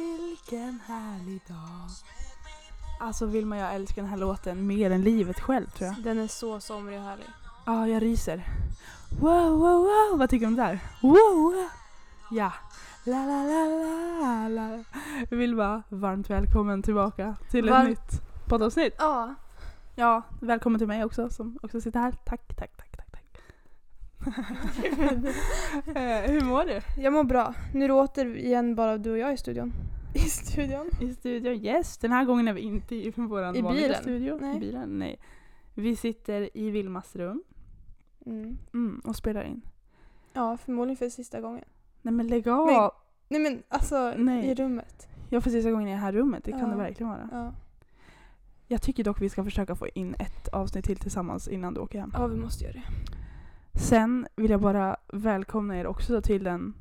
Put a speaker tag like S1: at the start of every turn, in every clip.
S1: Vilken härlig dag. Alltså vill man jag älskar den här låten mer än livet själv tror jag.
S2: Den är så somrig och härlig.
S1: Ja, jag ryser. Wow, wow, wow. Vad tycker du om det där? Wow! wow. Ja. La, la, la, la, la. Jag vill bara varmt välkommen tillbaka till ett
S2: Varm-
S1: nytt poddavsnitt.
S2: Ja.
S1: Ja, välkommen till mig också som också sitter här. Tack, tack, tack, tack, tack. Eh, hur mår du?
S2: Jag mår bra. Nu är det återigen bara du och jag i studion. I studion?
S1: I studion, yes. Den här gången är vi inte i vår
S2: I
S1: vanliga
S2: bilen?
S1: studio.
S2: Nej.
S1: I bilen? Nej. Vi sitter i Vilmas rum
S2: Mm.
S1: mm, och spelar in.
S2: Ja, förmodligen för sista gången.
S1: Nej men lägg av!
S2: Men- Nej men alltså,
S1: Nej.
S2: i rummet.
S1: Jag får sista gången i det här rummet, det kan
S2: Ja.
S1: det verkligen vara.
S2: Ja.
S1: Jag tycker dock vi ska försöka få in ett avsnitt till tillsammans innan du åker hem.
S2: ja, vi måste göra det.
S1: Sen vill jag bara välkomna er också till den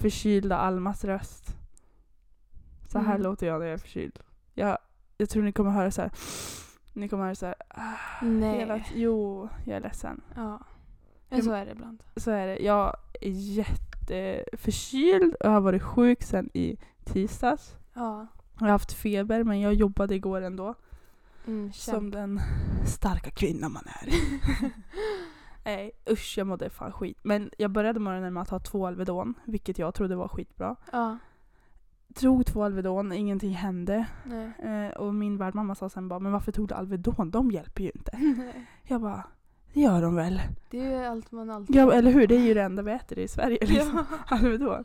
S1: förkylda Almas röst. Så här
S2: Mm.
S1: låter jag när jag är förkyld. Jag, jag tror ni kommer höra så här. Ni kommer höra så här. ah,
S2: Nej.
S1: hela- jo, jag är ledsen.
S2: Ja.
S1: Men så
S2: är det ibland.
S1: Så är det. Jag är jätteförkyld och har varit sjuk sen i tisdags.
S2: Ja.
S1: Jag har haft feber men jag jobbade igår ändå.
S2: Mm,
S1: Som den starka kvinna man är. Nej usch jag mådde fan skit. Men jag började morgonen med att ha två Alvedon, vilket jag trodde var skitbra.
S2: Ja.
S1: Drog två Alvedon, ingenting hände.
S2: Nej.
S1: Eh, och min värdmamma sa sen bara “men varför tog du Alvedon? De hjälper ju inte”. Jag bara “det gör de väl?”
S2: Det är ju allt man alltid...
S1: ja, Eller hur, det är ju det enda vi äter i Sverige. Liksom. Alvedon.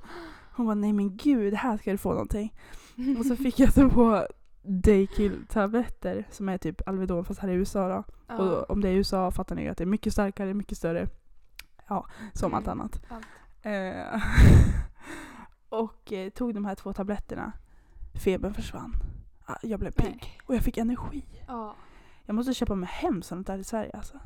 S1: Hon bara “nej men gud, här ska du få någonting”. Och så fick jag så på Daykill-tabletter som är typ Alvedon fast här i USA då.
S2: Ja.
S1: Och om det är i USA fattar ni ju att det är mycket starkare, mycket större. Ja, som
S2: Mm,
S1: allt annat.
S2: allt.
S1: Eh, och eh, tog de här två tabletterna. Febern försvann. Ah, Jag blev pigg.
S2: Nej.
S1: Och jag fick energi.
S2: Ja.
S1: Jag måste köpa mig hem sånt där i Sverige alltså.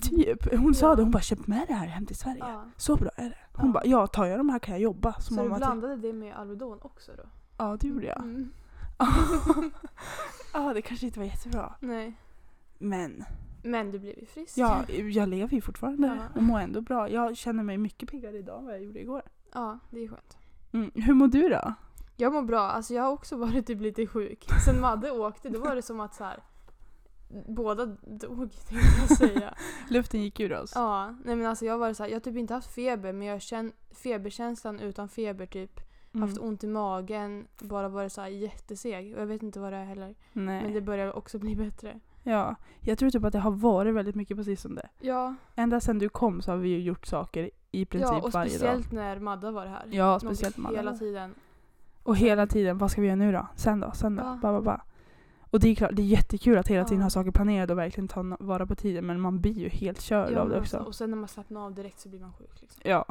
S1: Typ. Hon sa
S2: Mm. Ja.
S1: det, hon bara köp med det här hem till Sverige.
S2: ja.
S1: Så bra är det. Hon
S2: Ja.
S1: bara, ja tar jag de här kan jag jobba. Så,
S2: Så du
S1: mamma
S2: blandade det med Alvedon också då?
S1: Ja det gjorde jag.
S2: Mm.
S1: Ja det kanske inte var jättebra.
S2: Nej.
S1: Men
S2: Men du blev ju frisk.
S1: ja, jag lever ju fortfarande
S2: Ja.
S1: och mår ändå bra. Jag känner mig mycket piggare idag än vad jag gjorde igår.
S2: Ja, det är skönt.
S1: Mm. Hur mår du då?
S2: Jag mår bra. Alltså jag har också varit typ lite sjuk. Sen Madde åkte då var det som att så här. Båda dog tänkte jag säga.
S1: Luften gick ur oss.
S2: Ja, nej men alltså jag var så här, jag har typ inte haft feber men jag har känt feberkänslan utan feber typ.
S1: Mm.
S2: Haft ont i magen, bara varit så här jätteseg. Och jag vet inte vad det är heller.
S1: Nej.
S2: Men det börjar också bli bättre.
S1: Ja, jag tror typ att det har varit väldigt mycket på sistone.
S2: Ja,
S1: Ända sedan du kom så har vi ju gjort saker i princip
S2: ja och
S1: varje dag.
S2: speciellt när Madda var här.
S1: Ja,
S2: Någonting
S1: speciellt man.
S2: Hela tiden.
S1: Och hela tiden, vad ska vi göra nu då? Sen då? Sen då?
S2: Ja.
S1: Ba, ba, ba. Och det är klart, det är jättekul att hela
S2: Ja.
S1: tiden ha saker planerade och verkligen ta na- vara på tiden men man blir ju helt körd
S2: Ja,
S1: av det
S2: men
S1: också.
S2: alltså, och sen när man slappnar av direkt så blir man sjuk. Liksom.
S1: Ja.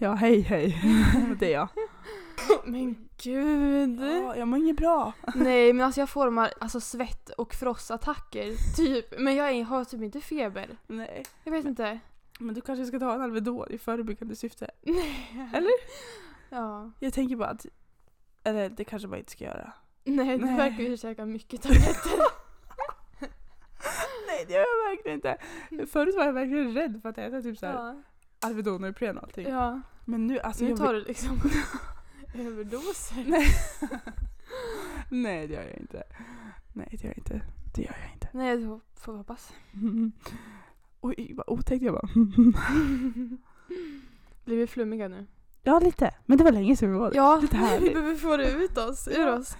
S1: ja, hej hej. det är jag.
S2: Men gud!
S1: Ja, jag mår inget bra.
S2: Nej men alltså jag får de här alltså, svett och frossattacker typ. Men jag är, har typ inte feber.
S1: Nej.
S2: Jag vet inte.
S1: Men du kanske ska ta en Alvedon i förebyggande syfte.
S2: Nej.
S1: Eller?
S2: Ja.
S1: Jag tänker bara att... Eller det kanske man inte ska göra.
S2: Nej, du
S1: Nej.
S2: verkar ju käka mycket tabletter.
S1: Nej det gör jag verkligen inte. Förut var jag verkligen rädd för att äta typ såhär
S2: Mm. ja.
S1: Alvedon och Ipren och allting.
S2: ja.
S1: Men nu alltså
S2: nu
S1: jag
S2: tar
S1: vet-
S2: du liksom överdoser.
S1: Nej. Nej det gör jag inte. Nej det gör jag inte. Det gör jag inte.
S2: Nej, det får vi hoppas.
S1: Oj vad otäckt jag var.
S2: Blir vi flummiga nu?
S1: ja lite. Men det var länge sedan vi var
S2: Ja,
S1: lite
S2: vi
S1: härligt.
S2: behöver få det ut oss, ur
S1: Ja.
S2: oss.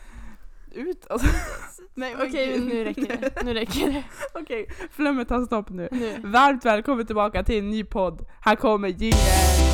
S1: Ut alltså. Nej men
S2: Okej,
S1: gud.
S2: nu räcker det. Nu räcker det.
S1: Okej, flummet tar stopp nu.
S2: Nu.
S1: Varmt välkommen tillbaka till en ny podd. Här kommer jingeln.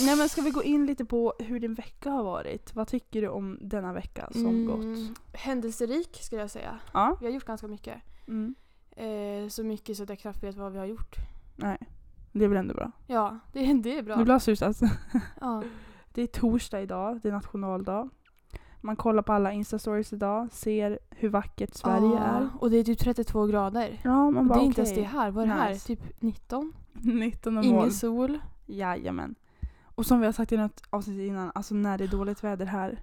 S1: Nej men ska vi gå in lite på hur din vecka har varit? Vad tycker du om denna vecka som gått?
S2: Mm, Händelserik skulle jag säga.
S1: Ja.
S2: Vi har gjort ganska mycket.
S1: Mm.
S2: Eh, så mycket så att jag knappt vet vad vi har gjort.
S1: Nej. Det är väl ändå bra.
S2: Ja, det, det är
S1: Nu
S2: bra.
S1: blir jag sus, alltså.
S2: Ja.
S1: Det är torsdag idag, det är nationaldag. Man kollar på alla instastories idag, ser hur vackert Sverige
S2: Ah,
S1: är.
S2: Och det är typ 32 grader.
S1: Ja, man
S2: det
S1: bara
S2: är inte
S1: okej.
S2: ens det här. Vad är det här?
S1: Nice.
S2: Typ 19?
S1: 19 och moln.
S2: Ingen sol.
S1: Jajamän. Och som vi har sagt i något avsnitt innan, alltså när det är dåligt väder här.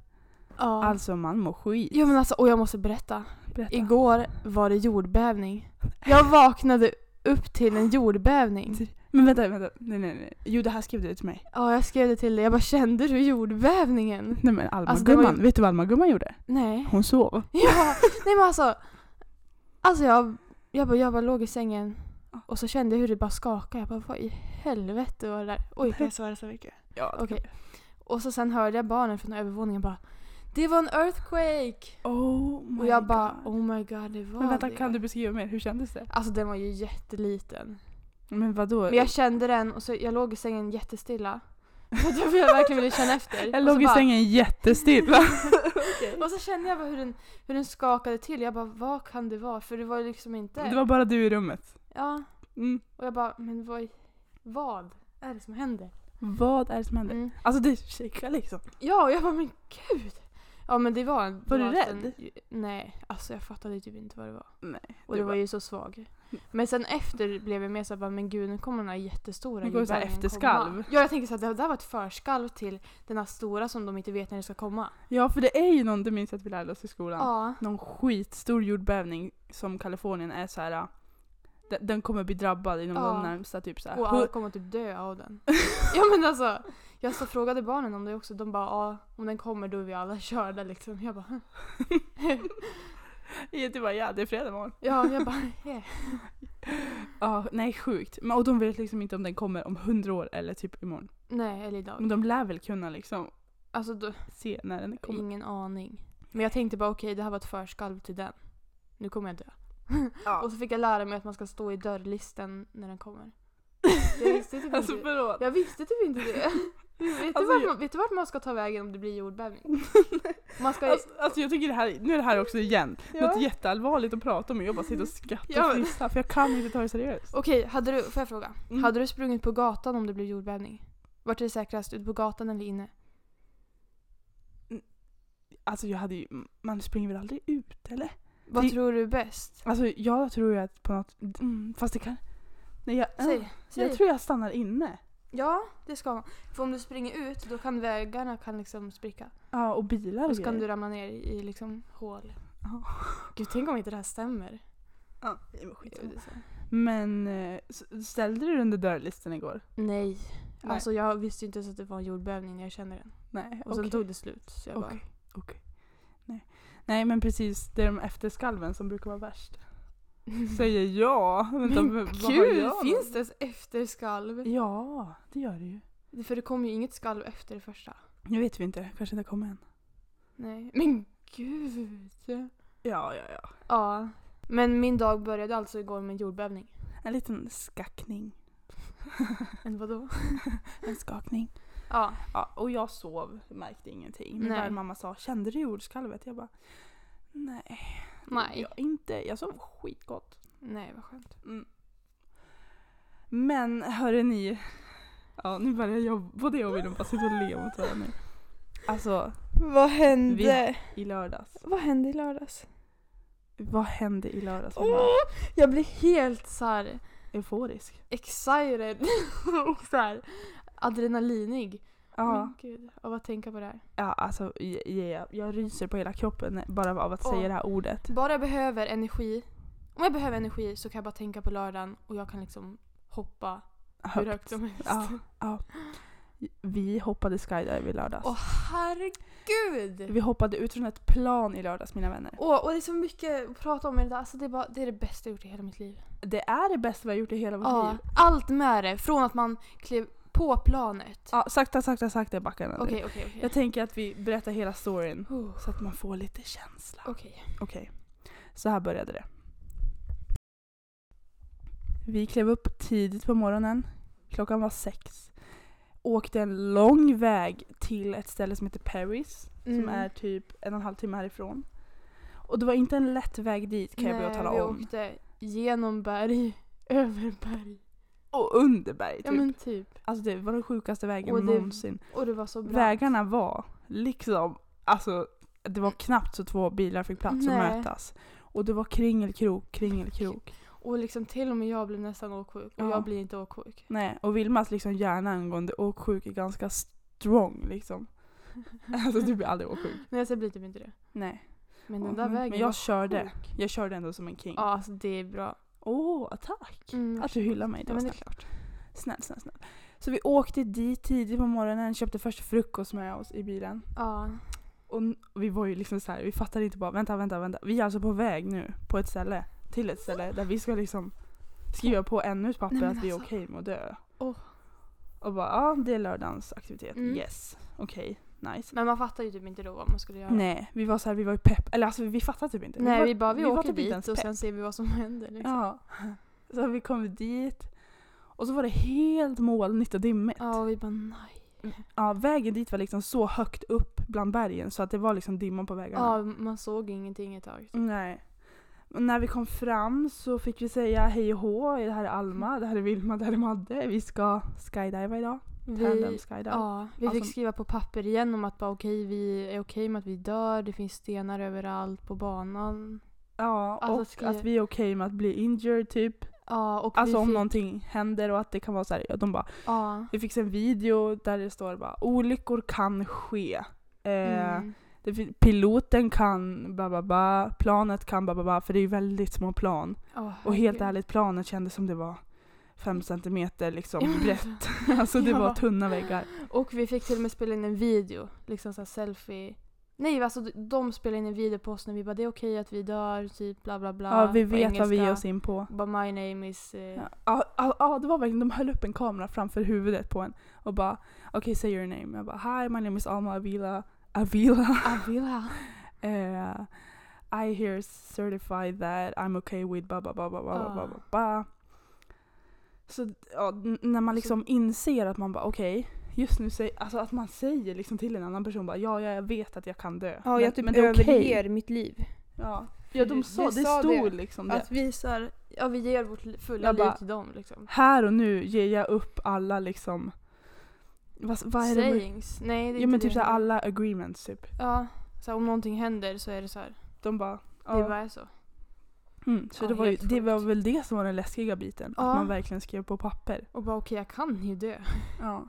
S2: Ja.
S1: Alltså man mår skit.
S2: Ja men alltså, och jag måste berätta.
S1: Berätta.
S2: Igår var det jordbävning. Jag vaknade upp till en jordbävning.
S1: Men vänta, vänta. Nej, nej, nej. Jo, det här skrev du till mig.
S2: Ja, jag skrev det till dig. Jag bara, kände du jordbävningen?
S1: Nej men Alma
S2: Alltså, det var
S1: gumman, vet du vad Alma gumman gjorde?
S2: Nej.
S1: Hon sov.
S2: Ja, nej men alltså. Alltså jag, jag, bara, jag bara låg i sängen och så kände jag hur det bara skakade. Jag bara, vad i helvete var det där? Oj, kan jag svära så mycket?
S1: Ja,
S2: Okej. Och så sen hörde jag barnen från övervåningen bara, det var en earthquake!
S1: Oh my
S2: och jag bara,
S1: god.
S2: oh my god, det var
S1: Men vänta,
S2: det.
S1: kan du beskriva mer? Hur kändes det?
S2: Alltså den var ju jätteliten.
S1: Men vadå?
S2: Men jag kände den och så jag låg i sängen jättestilla. För att jag verkligen ville känna efter.
S1: Jag
S2: Och så
S1: låg i
S2: bara-
S1: sängen jättestilla.
S2: Och så kände jag bara hur den, hur den skakade till. Jag bara, vad kan det vara? För det var ju liksom inte...
S1: Det var bara du i rummet.
S2: Ja.
S1: Mm.
S2: Och jag bara, men vad, vad är det som händer?
S1: Vad är det som händer?
S2: Mm.
S1: Alltså det kikar liksom.
S2: Ja, och jag bara, men gud! Ja men det var... det
S1: Var du
S2: alltså
S1: rädd?
S2: En, nej, alltså jag fattade typ inte vad det var.
S1: Nej.
S2: Och
S1: det
S2: det var
S1: var-
S2: ju så svag. Men sen efter blev jag mer såhär, bara, men gud nu kommer den här jättestora
S1: Nu kommer så här
S2: jordbävningen
S1: efterskalv.
S2: komma. Ja jag tänker såhär, det där var ett förskalv till den här stora som de inte vet när det ska komma.
S1: Ja för det är ju någon, det minns jag att vi lärde oss i skolan.
S2: Ja.
S1: Någon skitstor jordbävning som Kalifornien är så här. äh, de- Den kommer bli drabbad inom
S2: Ja.
S1: de närmsta typ såhär.
S2: Och alla kommer typ dö av den. ja men alltså, jag så frågade barnen om det också. De bara ja, om den kommer då är vi alla körda liksom. Jag bara
S1: Du bara ja, det är fredag morgon.
S2: ja, jag bara yeah.
S1: Ja, nej sjukt. Men, och de vet liksom inte om den kommer om hundra år eller typ imorgon.
S2: Nej, eller idag.
S1: Men de lär väl kunna liksom
S2: Alltså då,
S1: se när den kommer.
S2: ingen aning. Men jag tänkte bara okej, det här var ett förskalv till den. Nu kommer jag dö.
S1: Ja.
S2: Och så fick jag lära mig att man ska stå i dörrlisten när den kommer. Jag visste typ
S1: alltså
S2: inte-
S1: förlåt.
S2: Jag visste typ inte det. Vet,
S1: Alltså,
S2: du vart
S1: jag-
S2: man, vet du vart man ska ta vägen om det blir jordbävning? Man ska,
S1: Alltså, alltså jag tycker det här, nu är det här också igen
S2: Ja.
S1: något jätteallvarligt att prata om och jag bara sitter och skrattar
S2: Ja,
S1: och
S2: men-
S1: fnissar för jag kan inte ta det seriöst.
S2: Okej, hade du, får jag fråga?
S1: Mm.
S2: Hade du sprungit på gatan om det blev jordbävning? Vart är det säkrast? Ut på gatan eller inne?
S1: Alltså jag hade ju, man springer väl aldrig ut eller?
S2: Vad
S1: Det-
S2: tror du är bäst?
S1: Alltså jag tror ju att på något, mm, fast det kan... Nej jag, äh,
S2: Säg. Säg.
S1: jag tror jag stannar inne.
S2: Ja, det ska man. För om du springer ut då kan vägarna kan liksom spricka.
S1: Ja och bilar
S2: Och så kan
S1: grejer.
S2: du ramla ner i liksom hål.
S1: Ja.
S2: Gud, tänk om inte det här stämmer.
S1: Ja, det var skitsamma. Men eh, s- ställde du dig under dörrlisten igår?
S2: Nej.
S1: Nej.
S2: Alltså jag visste ju inte ens att det var en jordbävning när jag kände den.
S1: Nej,
S2: Och sen tog det slut. Så jag bara,
S1: Okej, okej. Nej. Nej men precis, det är de efterskalven som brukar vara värst. Säger jag. Vänta,
S2: Men
S1: men vad har
S2: Gud,
S1: jag
S2: finns det ens efterskalv?
S1: Ja, det gör det ju.
S2: För det kom ju inget skalv efter det första.
S1: Nu vet vi inte, kanske inte kommer än.
S2: Nej. Men gud.
S1: Ja, ja, ja.
S2: Ja. Men min dag började alltså igår med en jordbävning.
S1: En liten skackning.
S2: En vadå?
S1: En skakning.
S2: Ja.
S1: Ja, och jag sov, märkte ingenting. Min
S2: Nej.
S1: mamma sa “Kände du jordskalvet?” Jag bara “Nej,
S2: Nej.
S1: Jag, inte. jag sov skitgott”.
S2: Nej, vad skönt.
S1: Mm. Men hörru ni. Ja, nu börjar jag, både jag och Wilhelm bara sitta och le mot varandra nu. Alltså,
S2: Vad hände?
S1: Vi- i lördags.
S2: Vad hände i lördags?
S1: Vad hände i lördags?
S2: Åh!
S1: Mamma?
S2: jag blir helt så här
S1: Euforisk.
S2: excited och så här adrenalinig.
S1: Ja,
S2: Men gud, av att tänka på det här.
S1: Mm. ja alltså jag, jag, jag ryser på hela kroppen bara av att
S2: Åh.
S1: säga det här ordet.
S2: Bara jag behöver energi, om jag behöver energi så kan jag bara tänka på lördagen och jag kan liksom hoppa hur högt som helst.
S1: Ja, ja. Vi hoppade skydive i lördags.
S2: Åh herregud!
S1: Vi hoppade ut från ett plan i lördags mina vänner.
S2: Åh, och det är så mycket att prata om i det där. Alltså det är, bara, det är det bästa jag gjort i hela mitt liv.
S1: Det är det bästa vi har gjort i hela vårt
S2: Ja,
S1: liv.
S2: allt med det. Från att man klev på planet.
S1: Ja, sakta, sakta, sakta i backarna nu.
S2: Okej, okej, okej.
S1: Jag tänker att vi berättar hela storyn
S2: Oh,
S1: så att man får lite känsla.
S2: Okej.
S1: Okej, så här började det. Vi klev upp tidigt på morgonen. Klockan var sex. Åkte en lång väg till ett ställe som heter Paris.
S2: Mm.
S1: Som är typ en och en halv timme härifrån. Och det var inte en lätt väg dit kan jag
S2: Nej,
S1: börja tala
S2: vi
S1: om.
S2: åkte genom berg, över berg.
S1: Och under berg typ.
S2: Ja men typ.
S1: Alltså det var den sjukaste vägen
S2: Och det-
S1: någonsin.
S2: Och det var så bra.
S1: Vägarna var liksom, alltså det var knappt så två bilar fick plats att
S2: Nej.
S1: mötas. Och det var kringelkrok, kringelkrok.
S2: Och liksom till och med jag blev nästan åksjuk och
S1: Ja.
S2: jag blir inte åksjuk.
S1: Nej, och Vilmas liksom hjärna angående åksjuk är ganska strong liksom. Alltså du blir aldrig åksjuk.
S2: Nej alltså jag blir typ inte det.
S1: Nej.
S2: Men den där
S1: men,
S2: vägen
S1: men jag
S2: var
S1: körde.
S2: sjuk.
S1: Jag körde ändå som en king.
S2: Ja alltså det är bra.
S1: Åh, tack!
S2: Mm,
S1: Att du hyllar mig, det
S2: Ja,
S1: var
S2: men det är
S1: snällt. Snällt, snällt, snällt. Så vi åkte dit tidigt på morgonen, köpte först frukost med oss i bilen.
S2: Ja.
S1: Och n- vi var ju liksom så här, vi fattade inte bara vänta, vänta, vänta. Vi är alltså på väg nu på ett ställe, till ett ställe där vi ska liksom skriva på ännu ett papper
S2: Nej, men
S1: att vi är
S2: alltså.
S1: okej med att dö.
S2: Åh.
S1: Och bara ja, det är lördagens aktivitet.
S2: Mm.
S1: Yes, okej, nice.
S2: Men man fattar ju typ inte då vad man skulle göra.
S1: Nej, vi var så här, vi var ju pepp. Eller alltså vi fattade typ inte.
S2: Nej
S1: var,
S2: vi bara vi,
S1: var
S2: åker
S1: typ inte
S2: dit
S1: ens
S2: och
S1: pepp.
S2: sen ser vi vad som händer. Liksom.
S1: Ja. Så vi kom dit och så var det helt molnigt och dimmigt.
S2: Ja och vi bara nej.
S1: Ja, vägen dit var liksom så högt upp bland bergen så att det var liksom dimma på vägarna.
S2: Ja man såg ingenting ett
S1: Mm.
S2: tag.
S1: Nej. Och när vi kom fram så fick vi säga hej och hå. Det här är Alma,
S2: Mm.
S1: det här är Vilma, det här är Madde. Vi ska skydiva idag. Tandem
S2: Vi,
S1: skydive.
S2: ja, vi fick
S1: Alltså-
S2: skriva på papper igen om att bara okej vi är okej med att vi dör, det finns stenar överallt på banan.
S1: Ja,
S2: Alltså,
S1: och
S2: skriv-
S1: att vi är okej med att bli injured typ.
S2: Ja och
S1: Alltså
S2: vi
S1: om
S2: fick,
S1: någonting händer och att det kan vara så här, ja, de bara
S2: Ja.
S1: Vi fick se en video där det står bara olyckor kan ske. Eh,
S2: Mm.
S1: det fin- piloten kan ba, ba, ba, planet kan ba, ba, ba, för det är ju väldigt små plan.
S2: Åh,
S1: Och helt
S2: herregud.
S1: ärligt, planet kändes som det var fem centimeter liksom
S2: Mm. Ja, men
S1: brett. Alltså det
S2: Ja.
S1: var tunna väggar.
S2: Och vi fick till och med spela in en video, liksom såhär selfie. Nej alltså de- de spelade in en video på oss när vi bara det är okej att vi dör, typ bla bla bla.
S1: Ja, vi
S2: på
S1: vet vad vi ger
S2: engelska.
S1: oss in på.
S2: Bara my name is... eh,
S1: Ja, ja, ja, det var verkligen, de höll upp en kamera framför huvudet på en och bara okej, say your name. Jag bara hi, my name is Alma Avila. Avila.
S2: Avila.
S1: Eh, I here certify that I'm okay with ba ba ba ba ba ba ba
S2: Ah.
S1: ba ba. Så ja, n- när man liksom inser att man bara okej, just nu säger, alltså att man säger liksom till en annan person bara ja, jag vet att jag kan dö.
S3: Ja, jag typ
S1: okej.
S3: överger mitt liv.
S1: Ja, ja de
S3: Vi
S1: sa, det
S3: sa det.
S1: stod liksom det.
S3: Att vi såhär,
S2: Ja vi ger vårt li- fulla
S1: Jag
S2: liv
S1: bara-
S2: till dem liksom.
S1: Här och nu ger jag upp alla liksom, vad, vad är det? med-
S2: Sayings. Nej det är
S1: Ja men
S2: inte
S1: typ
S2: det.
S1: såhär alla agreements typ.
S2: Ja. Så här, om någonting händer så är det så här.
S1: De bara
S2: Det
S1: ja.
S2: bara är så.
S1: Mm, så
S2: Ja,
S1: det, var ju,
S2: helt
S1: det var
S2: sjukt.
S1: väl det som var den läskiga biten,
S2: Ja.
S1: att man verkligen skrev på papper.
S2: Och bara okej jag kan ju dö.
S1: Ja.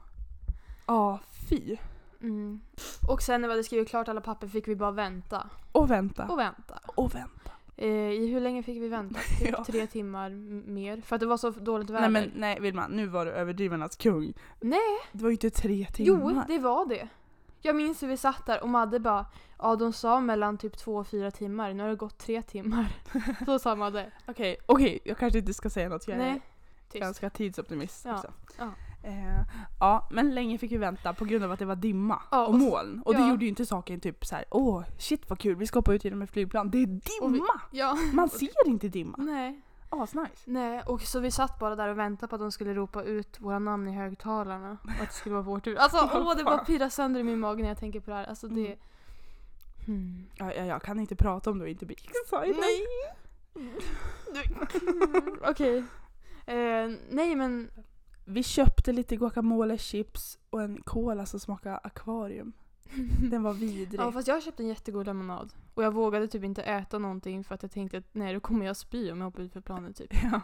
S1: Ja, fy.
S2: Mm. Och sen när vi hade skrivit klart alla papper fick vi bara vänta.
S1: Och vänta.
S2: Och vänta.
S1: Och vänta.
S2: Eh, I hur länge fick vi vänta? Typ
S1: Ja.
S2: tre timmar m- mer. För att det var så dåligt väder.
S1: Nej men nej Vilma, nu var du överdrivarnas kung.
S2: Nej.
S1: Det var ju inte tre
S2: Jo,
S1: timmar.
S2: det var det. Jag minns hur vi satt där och Madde bara ja de sa mellan typ två och fyra timmar, nu har det gått tre timmar. Så sa Madde.
S1: Okej, okej, jag kanske inte ska säga något. Jag är
S2: Nej. Tyst.
S1: ganska tidsoptimist
S2: Ja,
S1: också.
S2: ja.
S1: Eh, ja, men länge fick vi vänta på grund av att det var dimma
S2: Ja,
S1: och
S2: och-
S1: moln. Och det
S2: ja.
S1: gjorde ju inte saken typ så här: åh shit vad kul, vi ska hoppa ut genom ett flygplan. Det är
S2: Och Mm. vi-
S1: dimma!
S2: Ja.
S1: Man ser inte dimma.
S2: Nej.
S1: Asnice.
S2: Nej, och så vi satt bara där och väntade på att de skulle ropa ut våra namn i högtalarna. Och att det skulle vara vår tur. Alltså
S1: Vad
S2: åh, det bara
S1: fan.
S2: pirrar sönder i min mage när jag tänker på det här. Alltså det...
S1: Mm.
S2: Hmm.
S1: Ja, ja, jag kan inte prata om du inte blir excited.
S2: Nej. Mm, Okej. Eh, nej men,
S1: Vi köpte lite guacamole, chips och en cola som smakade akvarium. Den var vidrig.
S2: ja, fast jag köpte en jättegod lemonad. Och jag vågade typ inte äta någonting för att jag tänkte att nej då kommer jag spy om jag hoppar ut för planet typ.
S1: Ja.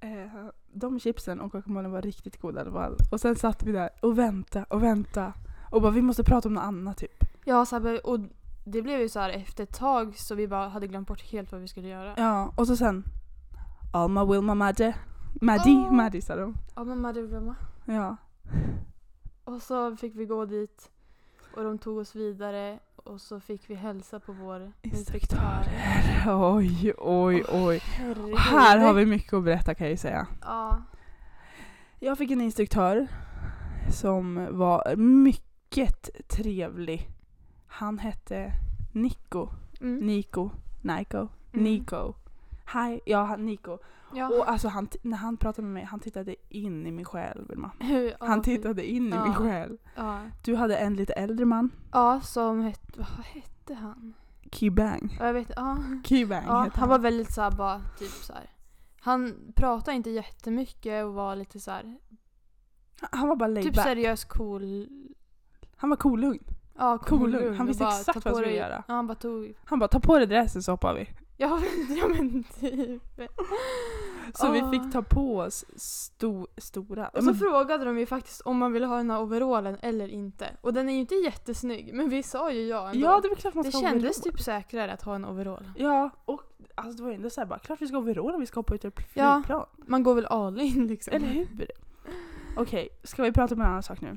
S1: Eh, de chipsen och guacamolen var riktigt goda i alla fall. Och sen satt vi där och väntade och väntade. Och bara vi måste prata om något annat typ.
S2: Ja, så här, och det blev ju så här efter ett tag så vi bara hade glömt bort helt vad vi skulle göra.
S1: Ja, och så sen Alma, Wilma, Madde. Maddie,
S2: Åh.
S1: Maddie sa de.
S2: Ja, men Madde glömma.
S1: Ja.
S2: Och så fick vi gå dit och de tog oss vidare och så fick vi hälsa på vår instruktör.
S1: Instruktörer. Oj, oj, oj.
S2: Herregud.
S1: Och här har vi mycket att berätta kan jag ju säga.
S2: Ja.
S1: Jag fick en instruktör som var mycket trevlig. Han hette Nico.
S2: Mm.
S1: Nico. Nico.
S2: Mm. Ah.
S1: Nico. Hi. Ja, han, Nico.
S2: ja.
S1: Och alltså han, t- när han pratade med mig, han tittade in i min själ Vilma.
S2: Ja,
S1: Han
S2: fy-
S1: tittade in i
S2: Ja.
S1: min själ.
S2: Ja.
S1: Du hade en lite äldre man,
S2: ja, som hette... Vad hette han?
S1: Kibang.
S2: Ja, jag vet ja.
S1: Kibang
S2: ja
S1: hette
S2: Ah, Han var väldigt såhär bara typ såhär. Han pratade inte jättemycket och var lite såhär
S1: han var bara laid
S2: typ
S1: back.
S2: seriös cool.
S1: Han var kolugn.
S2: Ja,
S1: Kolugn. Han
S2: och
S1: visste
S2: bara
S1: exakt
S2: ta
S1: vad
S2: på
S1: han skulle
S2: dig-
S1: göra.
S2: Ja, han bara tog...
S1: Han bara ta på dig dressen så hoppar vi.
S2: Ja, men- ja men typ.
S1: Så
S2: Åh.
S1: vi fick ta på oss sto- stora.
S2: Ah. Och så frågade de ju faktiskt om man ville ha den här overallen eller inte. Och den är ju inte jättesnygg, men vi sa ju ja ändå.
S1: ja det är väl klart man
S2: det
S1: ska
S2: kändes
S1: overall.
S2: typ säkrare att ha en overall.
S1: Ja, och alltså, det var ju ändå såhär bara klart vi ska ha overall om vi ska hoppa ut ur ett
S2: Ja.
S1: flygplan.
S2: Man går väl all in liksom.
S1: Eller hur? Okej, ska vi prata om en annan sak nu?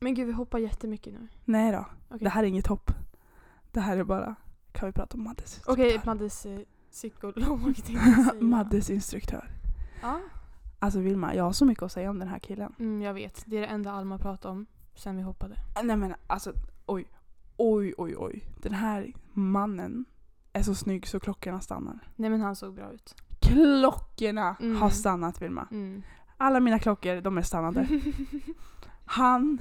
S2: Men gud, vi hoppar jättemycket nu.
S1: Nej då.
S2: Okej.
S1: Det här är inget hopp. Det här är bara, kan vi prata om Maddes instruktör?
S2: Okej, Maddes eh, psykolog tänkte jag säga.
S1: Maddes instruktör.
S2: Ja.
S1: Alltså Vilma, jag har så mycket att säga om den här killen.
S2: Mm, jag vet. Det är det enda Alma pratar om sen vi hoppade.
S1: Nej men alltså, oj. Oj, oj, oj. Den här mannen är så snygg så klockorna stannar.
S2: Nej men han såg bra ut.
S1: Klockorna
S2: Mm.
S1: har stannat Vilma.
S2: Mm.
S1: Alla mina klockor, de är stannade. Han,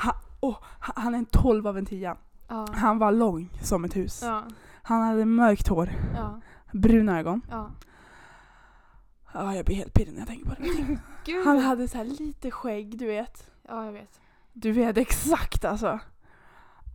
S1: han, åh, han är en 12 av en 10.
S2: Ja.
S1: Han var lång som ett hus.
S2: Ja.
S1: Han hade mörkt hår,
S2: Ja.
S1: bruna ögon.
S2: Ja.
S1: Ja, jag blir helt pirrig när jag tänker på det.
S2: Gud.
S1: Han hade så här lite skägg, du vet.
S2: Ja, jag vet.
S1: Du vet exakt alltså.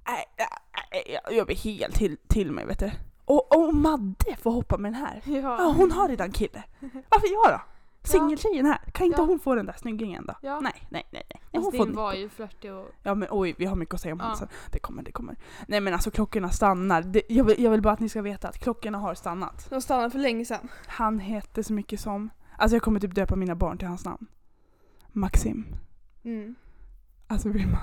S1: Nej, nej, nej, jag- Jag blir helt till, till mig vet du. Och, och Madde får hoppa med den här. Ja,
S2: Ja.
S1: hon har redan kille. Varför jag då? Singeltjejen här. Kan inte
S2: Ja.
S1: hon få den där snyggingen då?
S2: Ja.
S1: Nej, nej, nej. nej. nej
S2: Fast
S1: hon får den.
S2: din var ju flörtig och...
S1: Ja men oj, vi har mycket att säga om
S2: Ja.
S1: ja. sen. Det kommer, det kommer. Nej men alltså klockorna stannar. Det, jag, vill, jag vill bara att ni ska veta att klockorna har stannat.
S2: De stannade för länge sedan.
S1: Han hette så mycket som... Alltså jag kommer typ döpa mina barn till hans namn. Maxim.
S3: Mm.
S1: Alltså Vilma.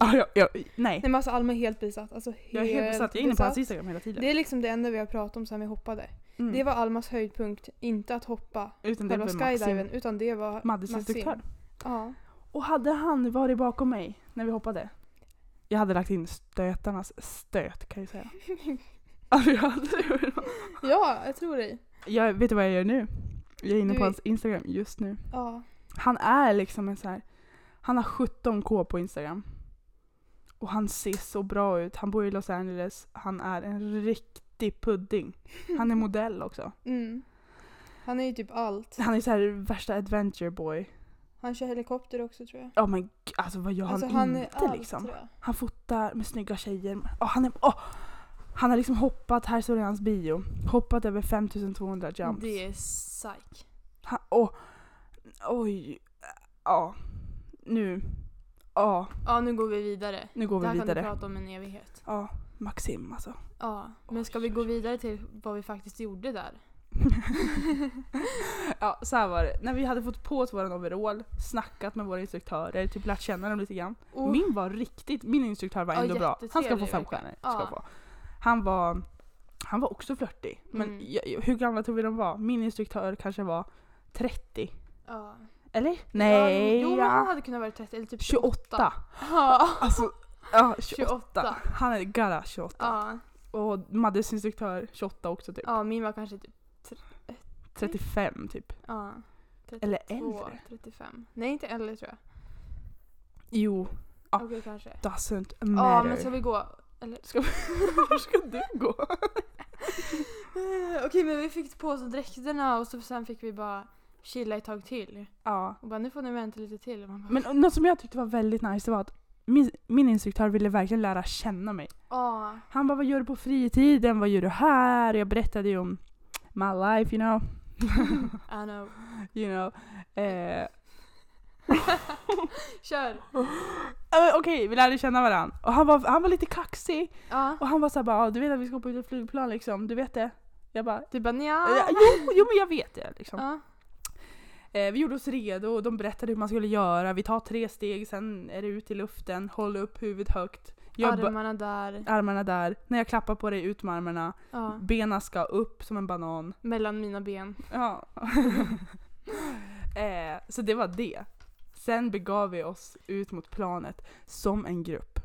S1: Ah, jag, jag, nej.
S3: Nej men alltså Alma är helt besatt. Alltså, helt
S1: Jag är helt besatt. Jag är inne på
S3: besatt.
S1: hans Instagram hela tiden.
S3: Det är liksom det enda vi har pratat om sen vi hoppade.
S1: mm.
S3: Det var Almas höjdpunkt, inte att hoppa
S1: Utan det
S3: själva
S1: var Maxim.
S3: skydiven utan det var
S1: Maddes
S3: Maxim.
S1: instruktör.
S3: Ja.
S1: Och hade han varit bakom mig när vi hoppade. Jag hade lagt in stötarnas stöt kan jag säga. Alltså jag hade
S3: ja, jag tror dig.
S1: Jag vet du vad jag gör nu? Jag är inne
S3: Du
S1: på
S3: är-
S1: hans Instagram just nu.
S3: Ja.
S1: Han är liksom en så här. Han har 17k på Instagram. Och han ser så bra ut. Han bor i Los Angeles. Han är en riktig pudding. Han är modell också.
S3: Mm. Han är ju typ allt.
S1: Han är så här värsta adventure boy.
S3: Han kör helikopter också tror jag.
S1: Ja men g- alltså vad gör
S3: alltså
S1: han, inte liksom?
S3: tror jag.
S1: Han fotar med snygga tjejer. Åh, han, är, åh! han har liksom hoppat, här står det i hans bio, hoppat över 5200 jumps.
S2: Det är psyk.
S1: Han, åh, oj, ja. Nu, ja,
S2: Ja, nu går vi vidare.
S1: nu går
S2: det här
S1: vi
S2: kan du
S1: vidare.
S2: prata om en evighet.
S1: Ja, Maxim alltså.
S2: Ja, men ska
S1: Oj,
S2: vi
S1: oj,
S2: gå
S1: oj.
S2: vidare till vad vi faktiskt gjorde där?
S1: Ja, så här var det. När vi hade fått på oss våran overall, snackat med våra instruktörer, typ lärt känna dem lite grann.
S2: Och,
S1: Min var riktigt, min instruktör var
S2: Ja,
S1: ändå bra. Han ska få
S2: jättetrevlig
S1: fem
S2: verkligen.
S1: stjärnor. Ska
S2: Ja.
S1: få. Han var han var också flörtig. Men
S2: Mm.
S1: jag, jag- hur gamla tror vi de var? Min instruktör kanske var 30.
S2: ja.
S1: Eller? Nej!
S2: Ja, jo, men han hade kunnat vara 30 eller typ 28.
S1: 28.
S2: Ja.
S1: Alltså, ja, 28.
S2: 28.
S1: Han är gara 28.
S2: Ja.
S1: Och Maddes instruktör 28 också typ.
S2: ja, min var kanske typ...
S1: 35 typ.
S2: Ja.
S1: Eller
S2: 32,
S1: äldre.
S2: 35. Nej, inte äldre tror jag.
S1: Jo, Ja.
S2: Okej, kanske.
S1: doesn't
S2: Ja,
S1: matter.
S2: men ska vi gå? Eller?
S1: Ska Var ska du gå?
S2: Eh, Okej men vi fick på oss dräkterna och så sen fick vi bara chilla ett tag till.
S1: ja.
S2: Och bara nu får ni vänta lite till. Och man bara,
S1: Men något som jag tyckte var väldigt nice det var att min, min instruktör ville verkligen lära känna mig.
S2: ah,
S1: Han bara, vad gör du på fritiden? Vad gör du här? Jag berättade ju om my life, you know.
S2: I know.
S1: you know. Eh,
S2: Kör!
S1: eh, Okej, vi lärde känna varandra. Och han var, han var lite kaxig.
S2: Ja.
S1: Och han var såhär bara, "Ah, du vet att vi ska hoppa ut ett flygplan liksom, du vet det? Jag bara,
S2: Du Typ bara
S1: "Ja,
S2: nja.
S1: Eh, jo, jo men jag vet det liksom.
S2: Ja.
S1: Eh, vi gjorde oss redo och de berättade hur man skulle göra. Vi tar tre steg, sen är det ut i luften, håll upp huvudet högt. Jag ba-
S2: Armarna där.
S1: armarna där, när jag klappar på dig ut med armarna.
S2: Ja.
S1: Benen ska upp som en banan.
S2: Mellan mina ben.
S1: Ja. eh, så det var det. Sen begav vi oss ut mot planet som en grupp.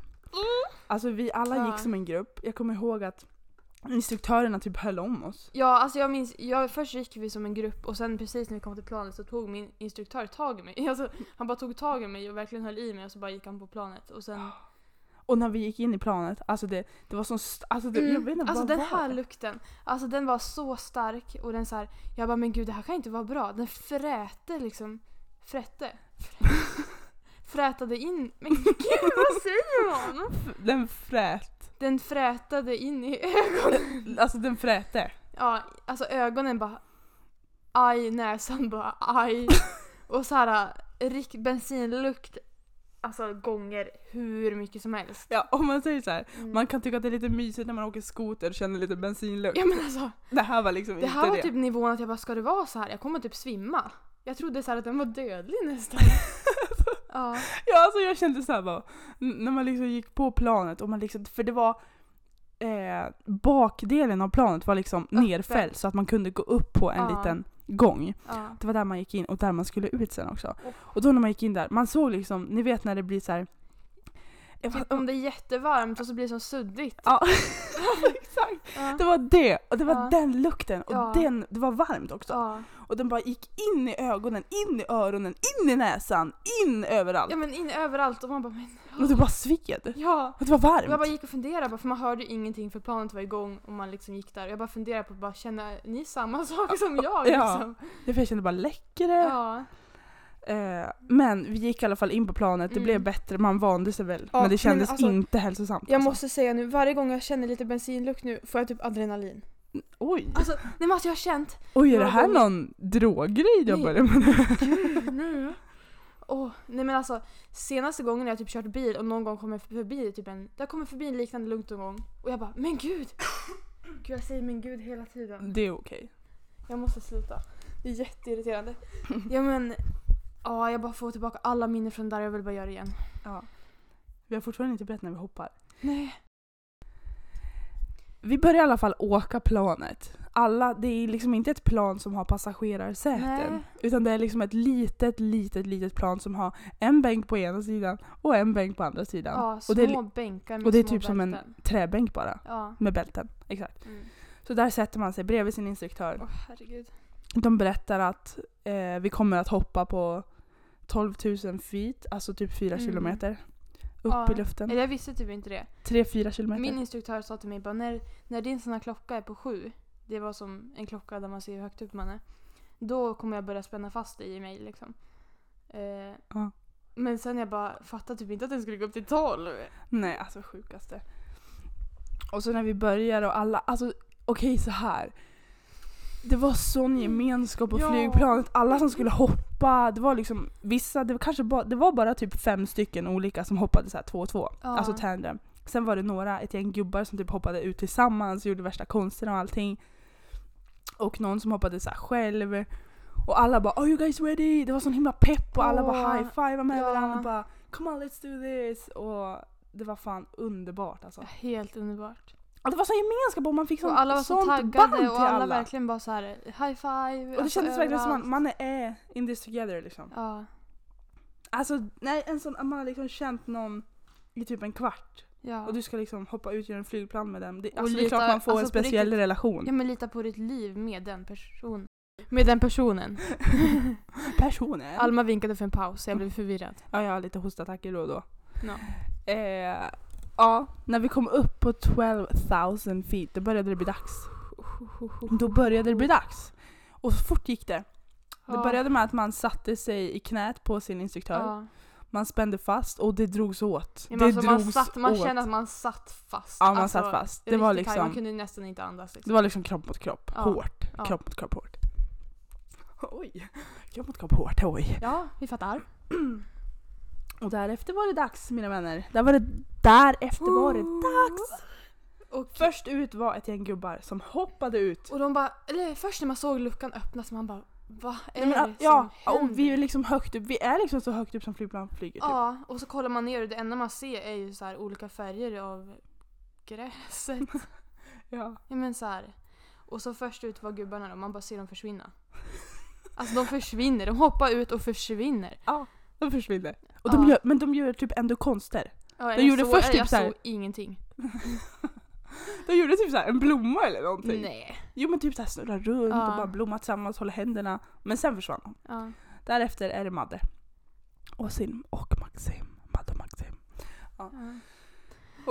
S1: Alltså vi alla
S2: Mm. Ja.
S1: gick som en grupp. Jag kommer ihåg att instruktörerna typ höll om oss.
S2: Ja alltså jag minns, jag, först gick vi som en grupp och sen precis när vi kom till planet så tog min instruktör tag i mig. Alltså, han bara tog tag i mig och verkligen höll i mig och så bara gick han på planet. Och sen,
S1: Och när vi gick in i planet, alltså det, det var sån... st- Alltså, det, jag vet inte,
S2: alltså
S1: vad
S2: den
S1: var
S2: här
S1: det?
S2: lukten, alltså den var så stark och den så här, jag bara men gud det här kan inte vara bra. Den fräte liksom, frätte. frätade in... Men gud vad säger man?
S1: Den frät.
S2: Den frätade in i ögonen.
S1: Alltså den fräte.
S2: Ja, alltså ögonen bara... Aj, näsan bara aj. Och såhär rik- bensinlukt. Alltså gånger hur mycket som helst.
S1: Ja, om man säger så här.
S2: Mm.
S1: Man kan tycka att det är lite mysigt när man åker skoter och känner lite bensinlukt.
S2: Ja men alltså.
S1: Det här var liksom
S2: Det här
S1: inte
S2: var
S1: det.
S2: typ nivån att jag bara, ska det vara så här? Jag kommer typ svimma. Jag trodde så här att den var dödlig nästan. ja.
S1: Ja, alltså jag kände så här bara, n- när man liksom gick på planet och man liksom, för det var eh, bakdelen av planet var liksom
S2: Öppen.
S1: nerfälld så att man kunde gå upp på en
S2: Ja.
S1: liten gång.
S2: ja.
S1: Det var där man gick in och där man skulle ut sen också.
S2: Åh.
S1: Och då när man gick in där, man såg liksom, ni vet när det blir så här. Eh,
S2: Typ
S1: vad-
S2: om det är jättevarmt och så blir det som suddigt.
S1: Ja, exakt.
S2: Ja.
S1: Det var det och det var
S2: Ja.
S1: den lukten och
S2: Ja.
S1: den, det var varmt också.
S2: Ja.
S1: Och den bara gick in i ögonen, in i öronen, in i näsan, in överallt.
S2: ja men in överallt och man bara, men
S1: Och det bara sved.
S2: ja.
S1: Och det var varmt.
S2: Och jag bara gick och funderade bara, för man hörde ju ingenting för planet var igång och man liksom gick där. Jag bara funderade på, bara, känner ni samma sak som jag?
S1: Ja.
S2: Liksom?
S1: Ja, för jag kände bara läcker det.
S2: Ja.
S1: Eh, men vi gick i alla fall in på planet, det
S2: Mm.
S1: blev bättre, man vande sig väl.
S3: Ja,
S1: men det
S3: men
S1: kändes
S3: alltså,
S1: inte hälsosamt.
S3: Jag
S1: alltså.
S3: måste säga nu, varje gång jag känner lite bensinlukt nu får jag typ adrenalin.
S1: Oj!
S2: Alltså, nej men alltså jag har känt,
S1: Oj, är det
S2: några
S1: här
S2: gånger-
S1: någon droggrej jag
S2: Nej.
S1: börjar med nu?
S2: nu. Åh, nej men alltså senaste gången jag typ kört bil och någon gång kommer förbi typ en, där kommer förbi en liknande lukt någon gång och jag bara, men gud! Gud jag säger men gud hela tiden.
S1: Det är okej.
S2: Jag måste sluta. Det är jätteirriterande. ja men, ja jag bara får tillbaka alla minnen från där jag vill bara göra det igen.
S1: Ja. Vi har fortfarande inte berättat när vi hoppar.
S2: Nej.
S1: Vi börjar i alla fall åka planet. Alla, det är liksom inte ett plan som har passagerarsäten.
S2: Nej.
S1: Utan det är liksom ett litet, litet, litet plan som har en bänk på ena sidan och en bänk på andra sidan.
S2: Ja, små
S1: och det är li-
S2: bänkar med
S1: och det är
S2: små
S1: typ som en-
S2: bälten.
S1: träbänk bara,
S2: Ja.
S1: med bälten. Exakt.
S2: Mm.
S1: Så där sätter man sig bredvid sin instruktör.
S2: Åh herregud.
S1: De berättar att eh, vi kommer att hoppa på 12 000 feet, alltså typ 4
S2: Mm.
S1: kilometer. Upp
S2: Ja.
S1: i luften.
S2: Eller jag visste typ inte det.
S1: 3-4 kilometer.
S2: Min instruktör sa till mig bara när, när din sån här klocka är på sju, det var som en klocka där man ser hur högt upp man är, då kommer jag börja spänna fast dig i mig liksom. Eh,
S1: Ja.
S2: Men sen jag bara fattade typ inte att den skulle gå upp till tolv.
S1: Nej, alltså sjukaste. Och så när vi börjar och alla, alltså okej så här. Det var sån gemenskap på
S2: Mm. Ja.
S1: flygplanet, alla som skulle hoppa, det var liksom vissa, det var kanske bara, det var bara typ fem stycken olika som hoppade så här två och två.
S2: Ja.
S1: Alltså tandem. Sen var det några, ett gäng gubbar som typ hoppade ut tillsammans, gjorde värsta konsterna och allting. Och någon som hoppade så här själv. Och alla bara “Are you guys ready?” Det var sån himla pepp och alla bara
S2: Åh,
S1: high-five med
S2: ja.
S1: varandra och bara “Come on let's do this” och det var fan underbart alltså.
S2: Helt underbart.
S1: Ja, det var sån gemenskap och man fick sån,
S2: och alla var så
S1: sånt band
S2: taggade
S1: till
S2: och alla, verkligen bara så här high five.
S1: Och det
S2: alltså,
S1: kändes verkligen som att
S2: överallt.
S1: man är eh, in this together liksom.
S2: Ja,
S1: Alltså nej, en sån, man har liksom känt någon i typ en kvart.
S2: ja.
S1: Och du ska liksom hoppa ut genom en flygplan med den. Det,
S2: Och
S1: alltså, det är
S2: lite-
S1: klart man får
S2: alltså,
S1: en
S2: på riktigt.
S1: speciell relation.
S2: ja men lita på ditt liv med den personen. Med den personen.
S1: Personen.
S2: Alma vinkade för en paus så jag blev förvirrad.
S1: ja, jag har lite hostattacker då och då.
S2: Ja.
S1: Eh, ja, när vi kom upp på 12 000 feet, då började det bli dags. Då började det bli dags. Och så fort gick det. Det
S2: Ja.
S1: började med att man satte sig i knät på sin instruktör.
S2: Ja.
S1: Man spände fast och det drogs åt. det
S2: Ja, men alltså man,
S1: drogs
S2: satt, man
S1: åt.
S2: kände att man satt fast.
S1: Ja, man
S2: Alltså,
S1: satt fast. Det var,
S2: riktigt tajt. Man
S1: liksom,
S2: kunde nästan inte andas. Liksom.
S1: det var liksom kropp mot kropp.
S2: Ja.
S1: Hårt.
S2: Ja.
S1: Kropp mot kropp hårt. Oj. Kropp mot kropp hårt. Oj.
S2: Ja, vi fattar.
S1: Och därefter var det dags mina vänner. Där var det, därefter var det dags!
S2: Och,
S1: Först ut var ett gäng gubbar som hoppade ut.
S2: och de bara, eller först när man såg luckan öppnas man bara Va är
S1: Nej, men, ah,
S2: det
S1: ja,
S2: som händer?
S1: och vi är liksom högt upp. Vi är liksom så högt upp som flygplan flyger. Typ.
S2: Ja, och så kollar man ner och det enda man ser är ju så här olika färger av gräset.
S1: Ja.
S2: ja men så här. Och så först ut var gubbarna och man bara ser dem försvinna. Alltså de försvinner, de hoppar ut och försvinner.
S1: De försvinner. Och de
S2: Ja.
S1: gör, men de gör typ ändå konster.
S2: Ja,
S1: De gjorde
S2: såg,
S1: först typ
S2: jag
S1: så här-
S2: såg ingenting.
S1: De gjorde typ så här en blomma eller någonting.
S2: Nej.
S1: Jo men typ såhär snurra runt
S2: Ja.
S1: och bara blomma tillsammans, hålla händerna. Men sen försvann de.
S2: Ja.
S1: Därefter är det Madde. Och Sim och Maxim. Madde och Maxim.
S2: Ja.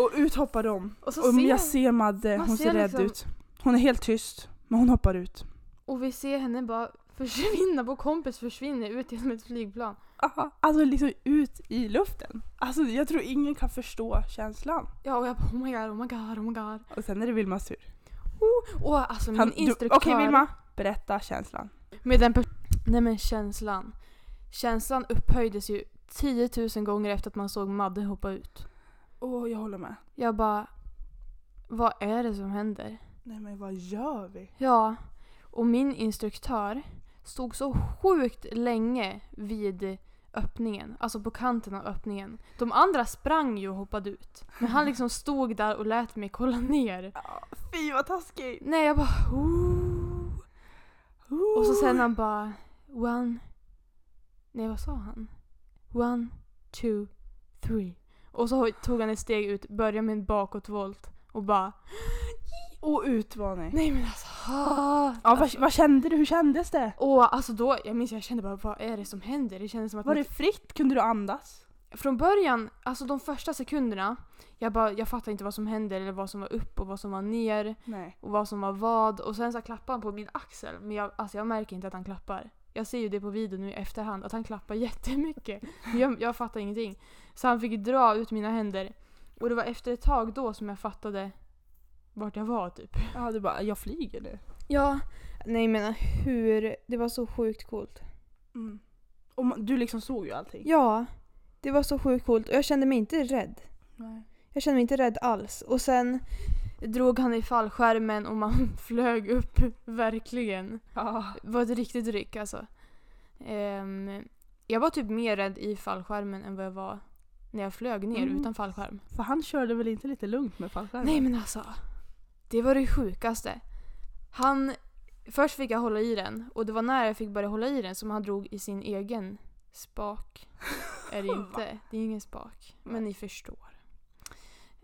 S1: Och ut hoppar de.
S2: Och så
S1: Om
S2: ser
S1: jag ser Madde,
S2: man
S1: hon ser,
S2: ser
S1: rädd
S2: liksom-
S1: ut. Hon är helt tyst, men hon hoppar ut.
S2: Och vi ser henne bara Försvinna, vår kompis försvinner ut genom ett flygplan.
S1: Aha, alltså liksom ut i luften. Alltså jag tror ingen kan förstå känslan.
S2: Ja och jag bara oh my god, oh my god, oh my god.
S1: Och sen är det Vilmas tur.
S2: Åh alltså min
S1: Kan du-
S2: instruktör.
S1: Okej Vilma, berätta känslan.
S2: Med den pers- Nej men känslan. Känslan upphöjdes ju 10 000 gånger efter att man såg Madde hoppa ut.
S1: Åh, jag håller med.
S2: Jag bara, vad är det som händer?
S1: Nej men vad gör vi?
S2: Ja, och min instruktör stod så sjukt länge vid öppningen, alltså på kanten av öppningen. De andra sprang ju och hoppade ut. Men han liksom stod där och lät mig kolla ner.
S1: Fy vad taskigt!
S2: Nej, jag bara Ooh. Och så sen han bara one... Nej vad sa han? One, two, three. Och så tog han ett steg ut, började med en bakåtvolt och bara
S1: Och utmaning.
S2: Nej men alltså ha.
S1: Ja, vad, vad kände du? Hur kändes det?
S2: Och alltså då, jag minns jag kände bara vad är det som händer? Det kändes som att
S1: Var det fritt? Kunde du andas?
S2: från början, alltså de första sekunderna, jag bara jag fattade inte vad som hände eller vad som var upp och vad som var ner
S1: Nej.
S2: och vad som var vad och sen så klappade han på min axel men jag, alltså jag märker inte att han klappar. Jag ser ju det på videon nu i efterhand att han klappar jättemycket. Men Jag, jag fattar ingenting. Så han fick dra ut mina händer och det var efter ett tag då som jag fattade vart jag var typ.
S1: Ja, du bara jag flyger nu.
S3: Ja, nej men hur, det var så sjukt coolt.
S1: Mm. Och man, du liksom såg ju allting.
S3: Ja, det var så sjukt coolt och jag kände mig inte rädd.
S1: Nej.
S3: Jag kände mig inte rädd alls. Och sen,
S2: Drog han i fallskärmen och man flög upp verkligen.
S1: Ja.
S2: Det var ett riktigt ryck alltså. Ehm, jag var typ mer rädd i fallskärmen än vad jag var när jag flög ner
S1: Mm.
S2: utan fallskärm.
S1: För han körde väl inte lite lugnt med fallskärmen?
S2: Nej men alltså. Det var det sjukaste. Han... Först fick jag hålla i den och det var när jag fick börja hålla i den som han drog i sin egen spak. Är det inte. Det är ingen spak. Men ni förstår.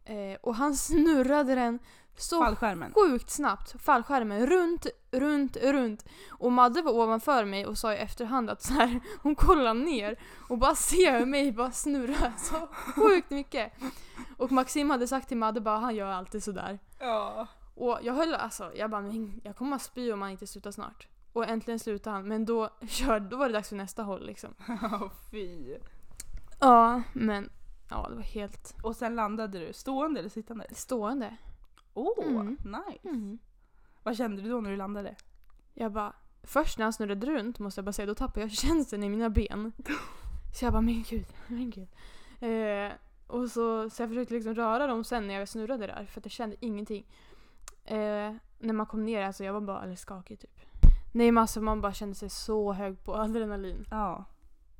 S2: Eh, och han snurrade den så
S1: Fallskärmen.
S2: sjukt snabbt. Fallskärmen runt, runt, runt. Och Madde var ovanför mig och sa i efterhand att så här, hon kollar ner och bara ser mig bara snurra så sjukt mycket. Och Maxim hade sagt till Madde bara han gör alltid sådär.
S1: Ja.
S2: Och jag höll alltså, jag bara men jag kommer att spy om han inte slutar snart. Och äntligen slutade han men då, kör, då var det dags för nästa håll liksom.
S1: fy.
S2: Ja, men ja det var helt
S1: Och sen landade du stående eller sittande?
S2: stående.
S1: Åh,
S2: Mm.
S1: nice. Vad kände du då när du landade?
S2: Jag bara, först när han snurrade runt måste jag bara säga, då tappade jag känslan i mina ben. Så jag bara, men gud, men gud. Eh, och så, så jag försökte liksom röra dem sen när jag snurrade där för att jag kände ingenting. Eh, när man kom ner, alltså jag var bara alldeles skakig typ. Nej men alltså man bara kände sig så hög på adrenalin.
S1: Ja.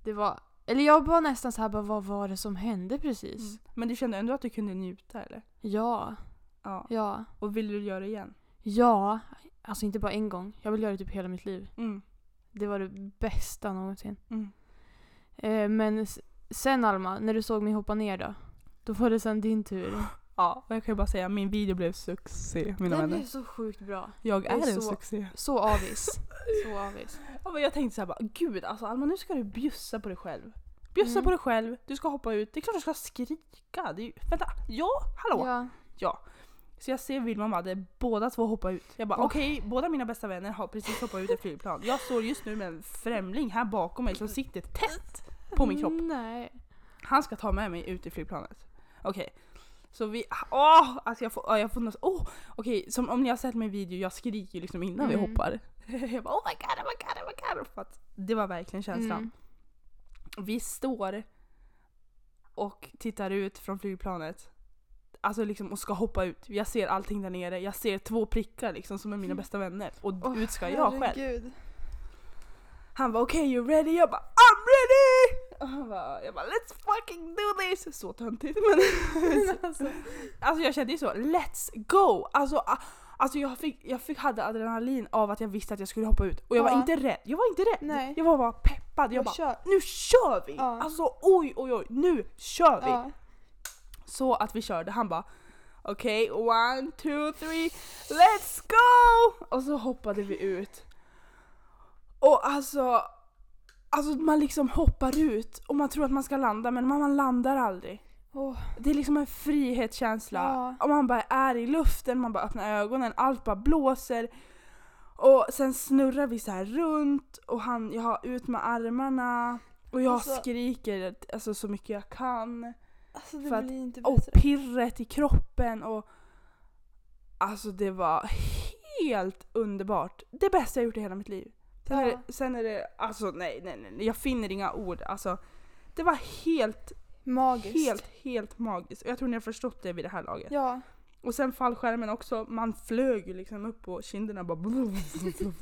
S2: Det var, eller jag var nästan så här bara, vad var det som hände precis?
S1: Men du kände ändå att du kunde njuta eller?
S2: Ja,
S1: Ja.
S2: ja,
S1: Och ville du göra det igen?
S2: ja. Alltså inte bara en gång. Jag vill göra det typ hela mitt liv.
S1: Mm.
S2: Det var det bästa någonsin.
S1: Mm.
S2: Eh, men s- sen Alma, när du såg mig hoppa ner då? Då var det sen din tur.
S1: Ja. Och jag kan ju bara säga min video blev succé mina
S2: Den
S1: vänner.
S2: blev så sjukt bra.
S1: Jag
S2: Jag är
S1: är en
S2: så-
S1: succé.
S2: Så avis. så avis.
S1: Ja, men jag tänkte så här bara, gud alltså Alma nu ska du bjussa på dig själv. Bjussa
S2: Mm.
S1: på dig själv, du ska hoppa ut, det är klart du ska skrika. Det är ju, vänta, ja, hallå?
S2: Ja.
S1: Så jag ser Vilma och Madde båda två hoppa ut. Jag bara
S2: Åh.
S1: okej, båda mina bästa vänner har precis hoppat ut ett flygplan. Jag står just nu med en främling här bakom mig som sitter tätt på min kropp.
S2: Nej.
S1: Han ska ta med mig ut i flygplanet. Okej. Så vi, åh! Alltså jag får, ja, jag får något, åh! Okej, som om ni har sett min video, jag skriker ju liksom innan vi
S2: Mm.
S1: hoppar. jag bara oh my god, oh my god, oh my god. För att det var verkligen känslan.
S2: Mm.
S1: Vi står och tittar ut från flygplanet. Alltså liksom och ska hoppa ut. Jag ser allting där nere. Jag ser två prickar liksom som är mina bästa vänner. Och
S2: Mm. Åh,
S1: ut ska jag själv.
S3: herregud.
S1: Han var okej you ready? Jag bara I'm ready! Och han bara, jag bara let's fucking do this! Så töntigt men
S2: Alltså.
S1: Alltså jag kände ju så, let's go! Alltså, a- alltså jag, fick, jag fick, hade adrenalin av att jag visste att jag skulle hoppa ut. Och jag
S3: Ja.
S1: var inte rädd, jag var inte rädd.
S3: Nej.
S1: Jag var bara peppad. Jag
S3: Jag
S1: bara,
S3: kör.
S1: nu kör vi!
S3: Ja.
S1: Alltså oj oj oj, nu kör vi!
S3: Ja.
S1: Så att vi körde, han bara okej, one, two, three, let's go! Och så hoppade vi ut. Och alltså, alltså man liksom hoppar ut och man tror att man ska landa men man, man landar aldrig.
S3: Åh.
S1: Det är liksom en frihetskänsla.
S3: Ja.
S1: Och man bara är i luften, man bara öppnar ögonen, allt bara blåser. Och sen snurrar vi så här runt och han, jag har ut med armarna och jag
S3: Alltså-
S1: skriker alltså, så mycket jag kan.
S3: Alltså det
S1: För att-
S3: blir inte
S1: Och
S3: bättre.
S1: pirret i kroppen och alltså det var helt underbart. Det bästa jag gjort i hela mitt liv. Sen, är, det, sen är det, alltså nej, nej, nej, nej, jag finner inga ord. Alltså, det var helt,
S3: Magiskt.
S1: helt, helt magiskt. Och jag tror ni har förstått det vid det här laget.
S3: Ja.
S1: Och sen fallskärmen också, man flög ju liksom upp på kinderna bara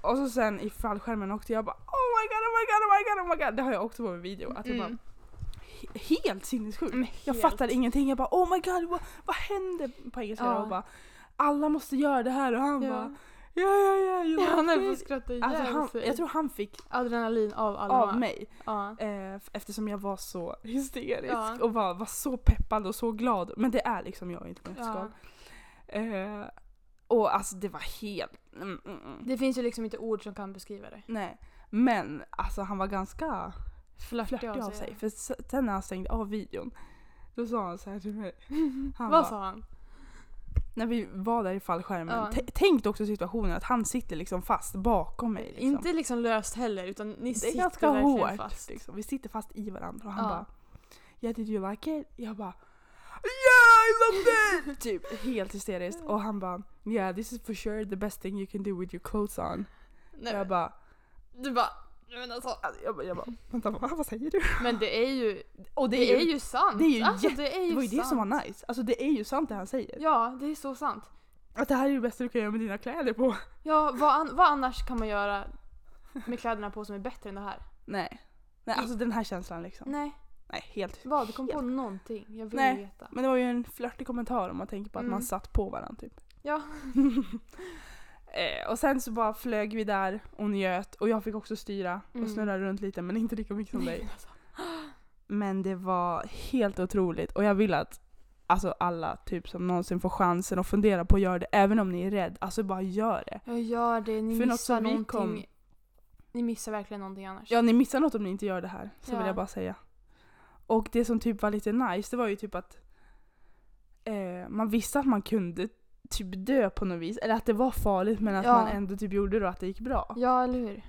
S1: Och så sen i fallskärmen också, jag bara oh my god, oh my god, oh my god, oh my god. Det har jag också på min video. Att jag bara,
S3: Mm.
S1: he- helt sinnessjukt.
S3: Men
S1: Jag
S3: helt.
S1: fattar ingenting. Jag bara oh my god, vad, vad händer? På engelska
S2: Ja.
S1: ja. och bara alla måste göra det här och han
S3: Ja.
S1: bara ja ja ja.
S2: Ja,
S1: Jag,
S2: han höll på att skratta ihjäl
S1: alltså, han,
S2: sig.
S1: jag tror han fick
S2: Adrenalin av alla.
S1: av mig.
S2: Ja.
S1: Eh, f- eftersom jag var så hysterisk
S2: Ja.
S1: och var, var så peppad och så glad. Men det är liksom jag i ett nötskal.
S2: Ja.
S1: Eh, och alltså det var helt... Mm, mm, mm.
S2: Det finns ju liksom inte ord som kan beskriva det.
S1: Nej. Men alltså han var ganska
S2: Flörtig
S1: flörtig av sig. För s- sen när han stängde av videon, då sa han så här till mig. Han
S2: Vad
S1: bara,
S2: sa han?
S1: När vi var där i fallskärmen,
S2: Ja.
S1: t- tänk också situationen att han sitter liksom fast bakom mig. Liksom.
S2: Inte liksom löst heller utan ni
S1: det är
S2: sitter
S1: ganska
S2: verkligen
S1: hårt.
S2: fast.
S1: Liksom. Vi sitter fast i varandra och han
S2: Ja.
S1: bara Yeah did you like it? Jag bara Yeah I loved it! typ helt hysteriskt. Och han bara Yeah this is for sure the best thing you can do with your clothes on.
S2: Nej,
S1: Jag bara
S2: Du bara, nej men alltså.
S1: Alltså, jag, bara- jag bara, vänta vad, vad säger du?
S2: Men det är ju,
S1: Och
S2: det, är ju sant.
S1: det är ju
S2: alltså,
S1: jätte-
S2: det, är ju
S1: det var ju det
S2: sant.
S1: som var nice. Alltså det är ju sant det han säger.
S2: Ja, det är så sant.
S1: Att det här är det bästa du kan göra med dina kläder på.
S2: Ja, vad, an- vad annars kan man göra med kläderna på som är bättre än det här?
S1: Nej. Nej alltså den här känslan liksom.
S2: Nej,
S1: Nej helt.
S2: vad? Du kom på
S1: Helt.
S2: någonting? Jag vill
S1: Nej.
S2: veta.
S1: Men det var ju en flörtig kommentar om man tänker på att
S2: Mm.
S1: man satt på varandra typ.
S2: Ja.
S1: Eh, och sen så bara flög vi där och njöt och jag fick också styra och
S2: Mm.
S1: snurra runt lite men inte lika mycket som
S2: Nej,
S1: dig.
S2: alltså.
S1: Men det var helt otroligt och jag vill att alltså alla typ som någonsin får chansen att fundera på att göra det även om ni är rädd. Alltså bara gör det.
S2: Jag gör det, ni
S1: För något
S2: missar
S1: som vi
S2: någonting.
S1: kom-
S2: Ni missar verkligen någonting annars.
S1: Ja ni missar något om ni inte gör det här. Så
S2: Ja.
S1: vill jag bara säga. Och det som typ var lite nice det var ju typ att eh, man visste att man kunde typ dö på något vis. Eller att det var farligt men att
S2: Ja.
S1: man ändå typ gjorde det och att det gick bra.
S2: Ja, eller hur?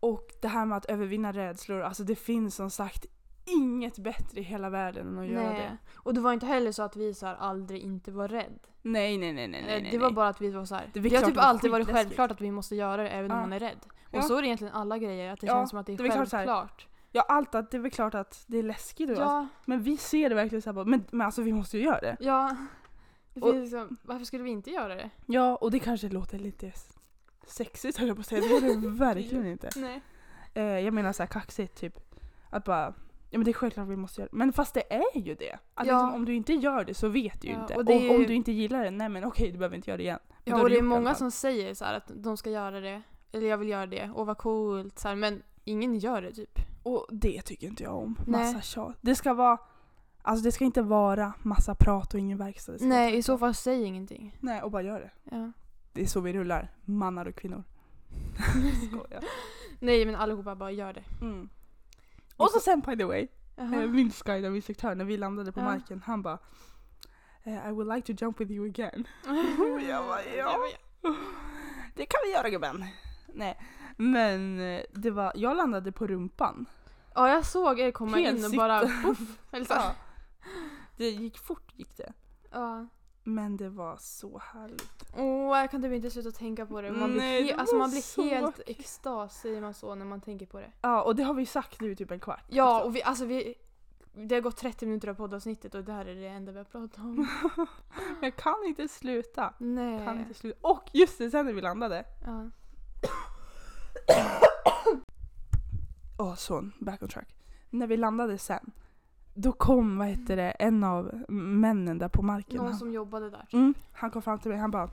S1: Och det här med att övervinna rädslor, alltså det finns som sagt inget bättre i hela världen än att göra det.
S2: Och det var inte heller så att vi så här aldrig inte var rädd.
S1: Nej, nej, nej, nej, nej.
S2: Eh,
S1: nej,
S2: det var
S1: nej.
S2: bara att vi var så här.
S1: Det
S2: Det,
S1: är klart
S2: har typ
S1: det var
S2: alltid varit
S1: skitläskigt.
S2: självklart att vi måste göra det även
S1: Ja.
S2: om man är rädd.
S1: Ja.
S2: Och så är det egentligen alla grejer, att det
S1: Ja,
S2: känns som att det är
S1: det är klart så här.
S2: självklart.
S1: Ja, allt att det är väl klart att det är läskigt och allt.
S2: Ja,
S1: Men vi ser det verkligen såhär, men, men alltså vi måste ju göra det.
S2: ja. Det
S1: Och-
S2: finns liksom, varför skulle vi inte göra det?
S1: Ja, och det kanske låter lite s- sexigt höll jag på att säga, det är det verkligen inte.
S2: Nej.
S1: Eh, jag menar såhär kaxigt typ. Att bara, ja men det är självklart vi måste göra det. Men fast det är ju det. Att
S2: Ja.
S1: liksom, om du inte gör det så vet du ju
S2: Ja,
S1: inte.
S2: och
S1: Och
S2: det är ju-
S1: om du inte gillar det, nej men okej du behöver inte göra det igen. Men då
S2: Ja,
S1: har
S2: och
S1: du
S2: det är
S1: gjort i alla
S2: många
S1: fall.
S2: som säger så här att de ska göra det. Eller jag vill göra det. Åh vad coolt. Så här, men ingen gör det typ.
S1: Och det tycker inte jag om.
S2: Nej.
S1: Massa tjat. Det ska vara... Alltså det ska inte vara massa prat och ingen verkstad. Det ska vara
S2: Nej, i
S1: tvärtom.
S2: så fall säg ingenting.
S1: Nej, och bara gör det.
S2: Ja.
S1: Det är så vi rullar. Mannar och kvinnor. Skojar.
S2: Nej, men allihopa bara gör det.
S1: Mm. Och så sen by the way, eh,
S2: Jaha.
S1: min skydive-instruktör när vi landade på
S2: Ja.
S1: marken, han bara eh, I would like to jump with you again. Jag bara, ja. Det kan vi göra gubben. Nej, men eh, det var, jag landade på rumpan.
S2: Ja, jag såg er komma
S1: Helt
S2: in och
S1: sitt-
S2: bara poff. Eller så. här.
S1: Det gick fort gick det.
S2: Ja.
S1: Men det var så härligt.
S2: Åh, jag kan typ inte sluta tänka på det. Man blir,
S1: Nej,
S2: he-
S1: det
S2: alltså,
S1: var
S2: man blir
S1: så
S2: helt
S1: vackert.
S2: extas, säger man så, när man tänker på det.
S1: Ja, och det har vi sagt nu i typ en kvart.
S2: Ja,
S1: liksom.
S2: och vi, alltså vi... Det har gått 30 minuter av poddavsnittet och det här är det enda vi har pratat om.
S1: Jag kan inte sluta.
S2: Nej.
S1: Kan inte sluta. Och just det, sen när vi landade.
S2: Ja.
S1: Åh, så back on track. När vi landade sen, då kom vad heter det, en av männen där på marken.
S2: Någon
S1: Han,
S2: som jobbade där.
S1: mm, han kom fram till mig han bara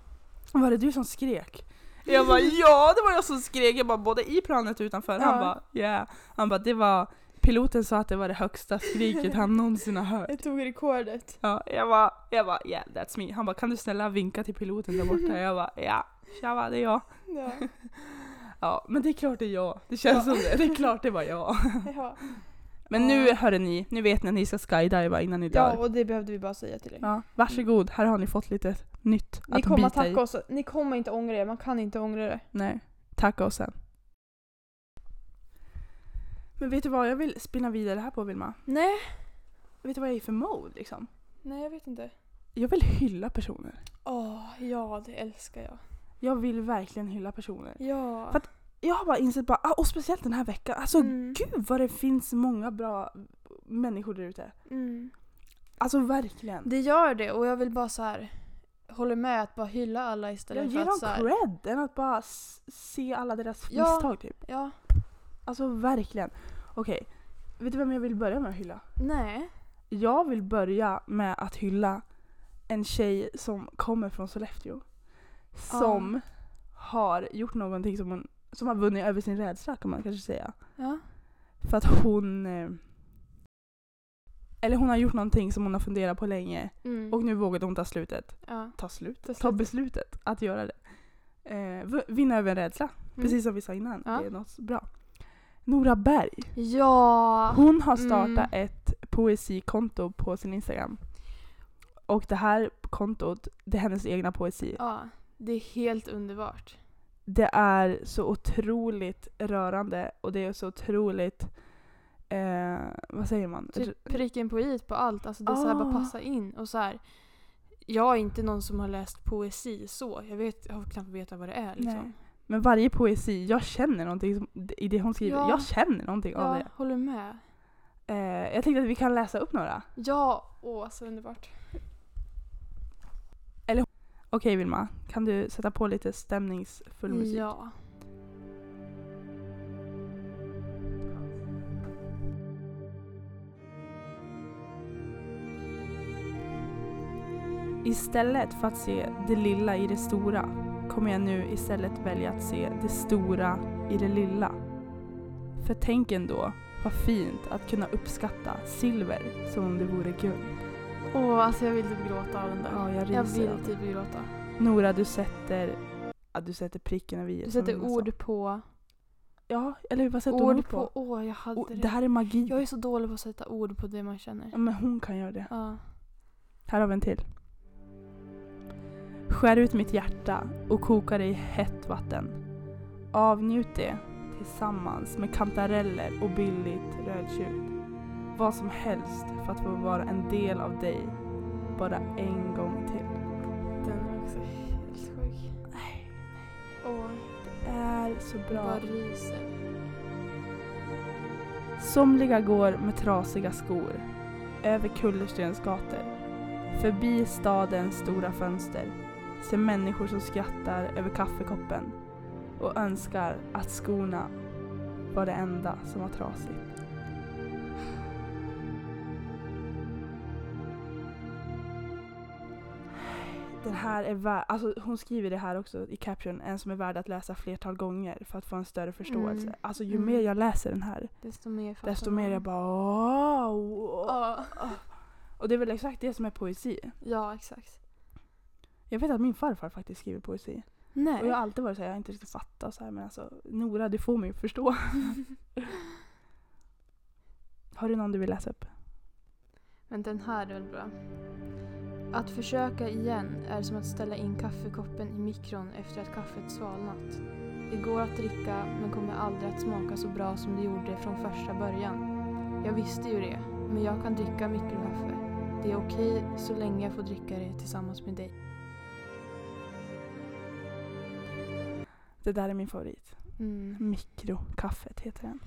S1: Var det du som skrek? Jag bara ja, det var jag som skrek. Jag bara både i planet och utanför. Han
S3: Ja.
S1: bara yeah. Han bara det var Piloten sa att det var det högsta skriket han någonsin har hört.
S3: Jag tog rekordet.
S1: Ja, jag bara, jag bara yeah that's me. Han bara kan du snälla vinka till piloten där borta? Jag bara ja, tjaba det är jag.
S3: Ja.
S1: Ja, men det är klart det är jag. Det känns som det. Det är klart det var jag.
S3: ja.
S1: Men
S2: Ja.
S1: nu hörde ni, nu vet ni att ni ska skydiva innan ni
S2: Ja,
S1: dör.
S2: och det behövde vi bara säga till er.
S1: Ja, varsågod, här har ni fått lite nytt
S2: Ni
S1: att
S2: kommer
S1: bita i.
S2: tacka oss. Ni kommer inte ångra er. Man kan inte ångra det.
S1: Nej, tacka oss sen. Men vet du vad jag vill spinna vidare här på Vilma?
S2: Nej.
S1: Vet du vad jag är för mode liksom?
S2: Nej, jag vet inte.
S1: Jag vill hylla personer.
S2: Åh, ja, det älskar jag.
S1: Jag vill verkligen hylla personer.
S2: Ja.
S1: För att- Jag har bara insett bara, ah, och speciellt den här veckan, alltså
S2: Mm.
S1: gud vad det finns många bra människor där ute.
S2: Mm.
S1: Alltså verkligen.
S2: Det gör det och jag vill bara så här håller med att bara hylla alla istället
S1: Jag
S2: för
S1: ger
S2: att
S1: dem
S2: så här,
S1: cred än att bara s- se alla deras
S2: Ja.
S1: misstag typ.
S2: Ja.
S1: Alltså verkligen. Okej, vet du vem jag vill börja med att hylla?
S2: Nej.
S1: Jag vill börja med att hylla en tjej som kommer från Sollefteå. Som har gjort någonting som hon som har vunnit över sin rädsla kan man kanske säga.
S2: Ja.
S1: För att hon... eh, Eller hon har gjort någonting som hon har funderat på länge
S2: Mm.
S1: och nu vågade hon ta slutet.
S2: ja. Mm.
S1: Ta slutet?
S2: Ta
S1: Ta,
S2: slutet.
S1: beslutet att göra det. Eh, v- vinna över en rädsla. Precis som vi sa innan.
S2: Mm. Ja.
S1: Det är något bra. Nora Berg.
S2: Ja.
S1: Hon har startat
S2: Mm.
S1: ett poesikonto på sin Instagram. Och det här kontot, det är hennes egna poesi.
S2: Ja. Det är helt underbart.
S1: Det är så otroligt rörande och det är så otroligt... Eh, vad säger man? R-
S2: Typ pricken på i på allt. Alltså det är så här bara
S1: Ah.
S2: passa in och så här. Jag är inte någon som har läst poesi så. Jag, vet, jag har knappt vetat vad det är
S1: Nej.
S2: liksom.
S1: Men varje poesi, jag känner någonting som, i det hon skriver.
S2: Ja.
S1: Jag känner någonting av
S2: Jag
S1: det.
S2: håller med.
S1: Eh, jag tänkte att vi kan läsa upp några.
S2: Ja, åh så underbart.
S1: Okej Vilma, kan du sätta på lite stämningsfull musik?
S2: Ja.
S1: Istället för att se det lilla i det stora kommer jag nu istället välja att se det stora i det lilla. För tänk ändå vad fint att kunna uppskatta silver som om det vore guld.
S2: Åh, alltså jag vill typ gråta av den där.
S1: Ja, jag
S2: jag
S1: ryser.
S2: vill typ gråta.
S1: Nora, du sätter, ja, du sätter pricken över i.
S2: Du
S1: som
S2: sätter
S1: Vilma sa.
S2: ord på...
S1: Ja, eller hur? Vad sätter hon
S2: Ord
S1: ord på?
S2: på... Åh, jag hade
S1: O- det
S2: det.
S1: här är magi.
S2: Jag är så dålig på att sätta ord på det man känner.
S1: Ja, men hon kan göra det.
S2: Ja.
S1: Här har vi en till. Skär ut mitt hjärta och koka det i hett vatten. Avnjut det tillsammans med kantareller och billigt rödtjut. Vad som helst för att få vara en del av dig bara en gång till.
S2: Den är också helt sjuk.
S1: Nej,
S2: Åh,
S1: det är så
S2: jag
S1: bra.
S2: bara ryser.
S1: Somliga går med trasiga skor över kullerstens gator. Förbi stadens stora fönster ser människor som skrattar över kaffekoppen och önskar att skorna var det enda som var trasigt. Den här är värd, alltså hon skriver det här också i caption, en som är värd att läsa flertal gånger för att få en större förståelse.
S2: Mm.
S1: Alltså ju
S2: Mm.
S1: mer jag läser den här
S2: Desto mer fattar
S1: desto mer
S2: man.
S1: jag bara wow.
S2: Ja.
S1: Och det är väl exakt det som är poesi.
S2: ja, exakt.
S1: Jag vet att min farfar faktiskt skriver poesi.
S2: Nej.
S1: Och jag har alltid varit såhär, jag har inte riktigt fattat så här, men alltså Nora du får mig att förstå. har du någon du vill läsa upp?
S2: Men den här är väl bra. Att försöka igen är som att ställa in kaffekoppen i mikron efter att kaffet svalnat. Det går att dricka men kommer aldrig att smaka så bra som det gjorde från första början. Jag visste ju det, men jag kan dricka mikrokaffe. Det är okej så länge jag får dricka det tillsammans med dig.
S1: Det där är min favorit.
S2: Mm.
S1: Mikrokaffet heter den.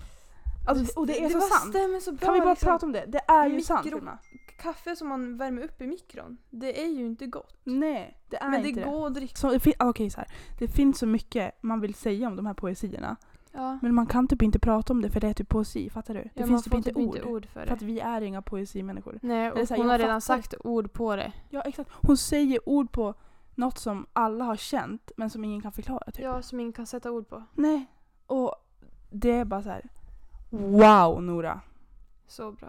S1: Alltså, och det är så
S2: bara
S1: sant.
S2: stämmer så bra,
S1: Kan vi bara
S2: liksom.
S1: prata om det? Det är ju sant
S2: Mikro-
S1: Vilma.
S2: Kaffe som man värmer upp i mikron, det är ju inte gott.
S1: Nej, det är
S2: Men det
S1: inte det.
S2: går att dricka.
S1: Så, det fin- ah, okej, så här. Det finns så mycket man vill säga om de här poesierna.
S2: Ja.
S1: Men man kan typ inte prata om det för det är typ poesi, fattar du? Det
S2: Ja, man
S1: finns typ
S2: får
S1: inte ord.
S2: inte ord för
S1: För
S2: det.
S1: att vi är inga poesimänniskor.
S2: Nej,
S1: Eller
S2: och
S1: så här,
S2: hon
S1: jag
S2: har redan
S1: fattar.
S2: sagt ord på det.
S1: Ja exakt. Hon säger ord på något som alla har känt men som ingen kan förklara. Typ.
S2: Ja, som ingen kan sätta ord på.
S1: Nej. Och det är bara så här. Wow Nora!
S2: Så bra.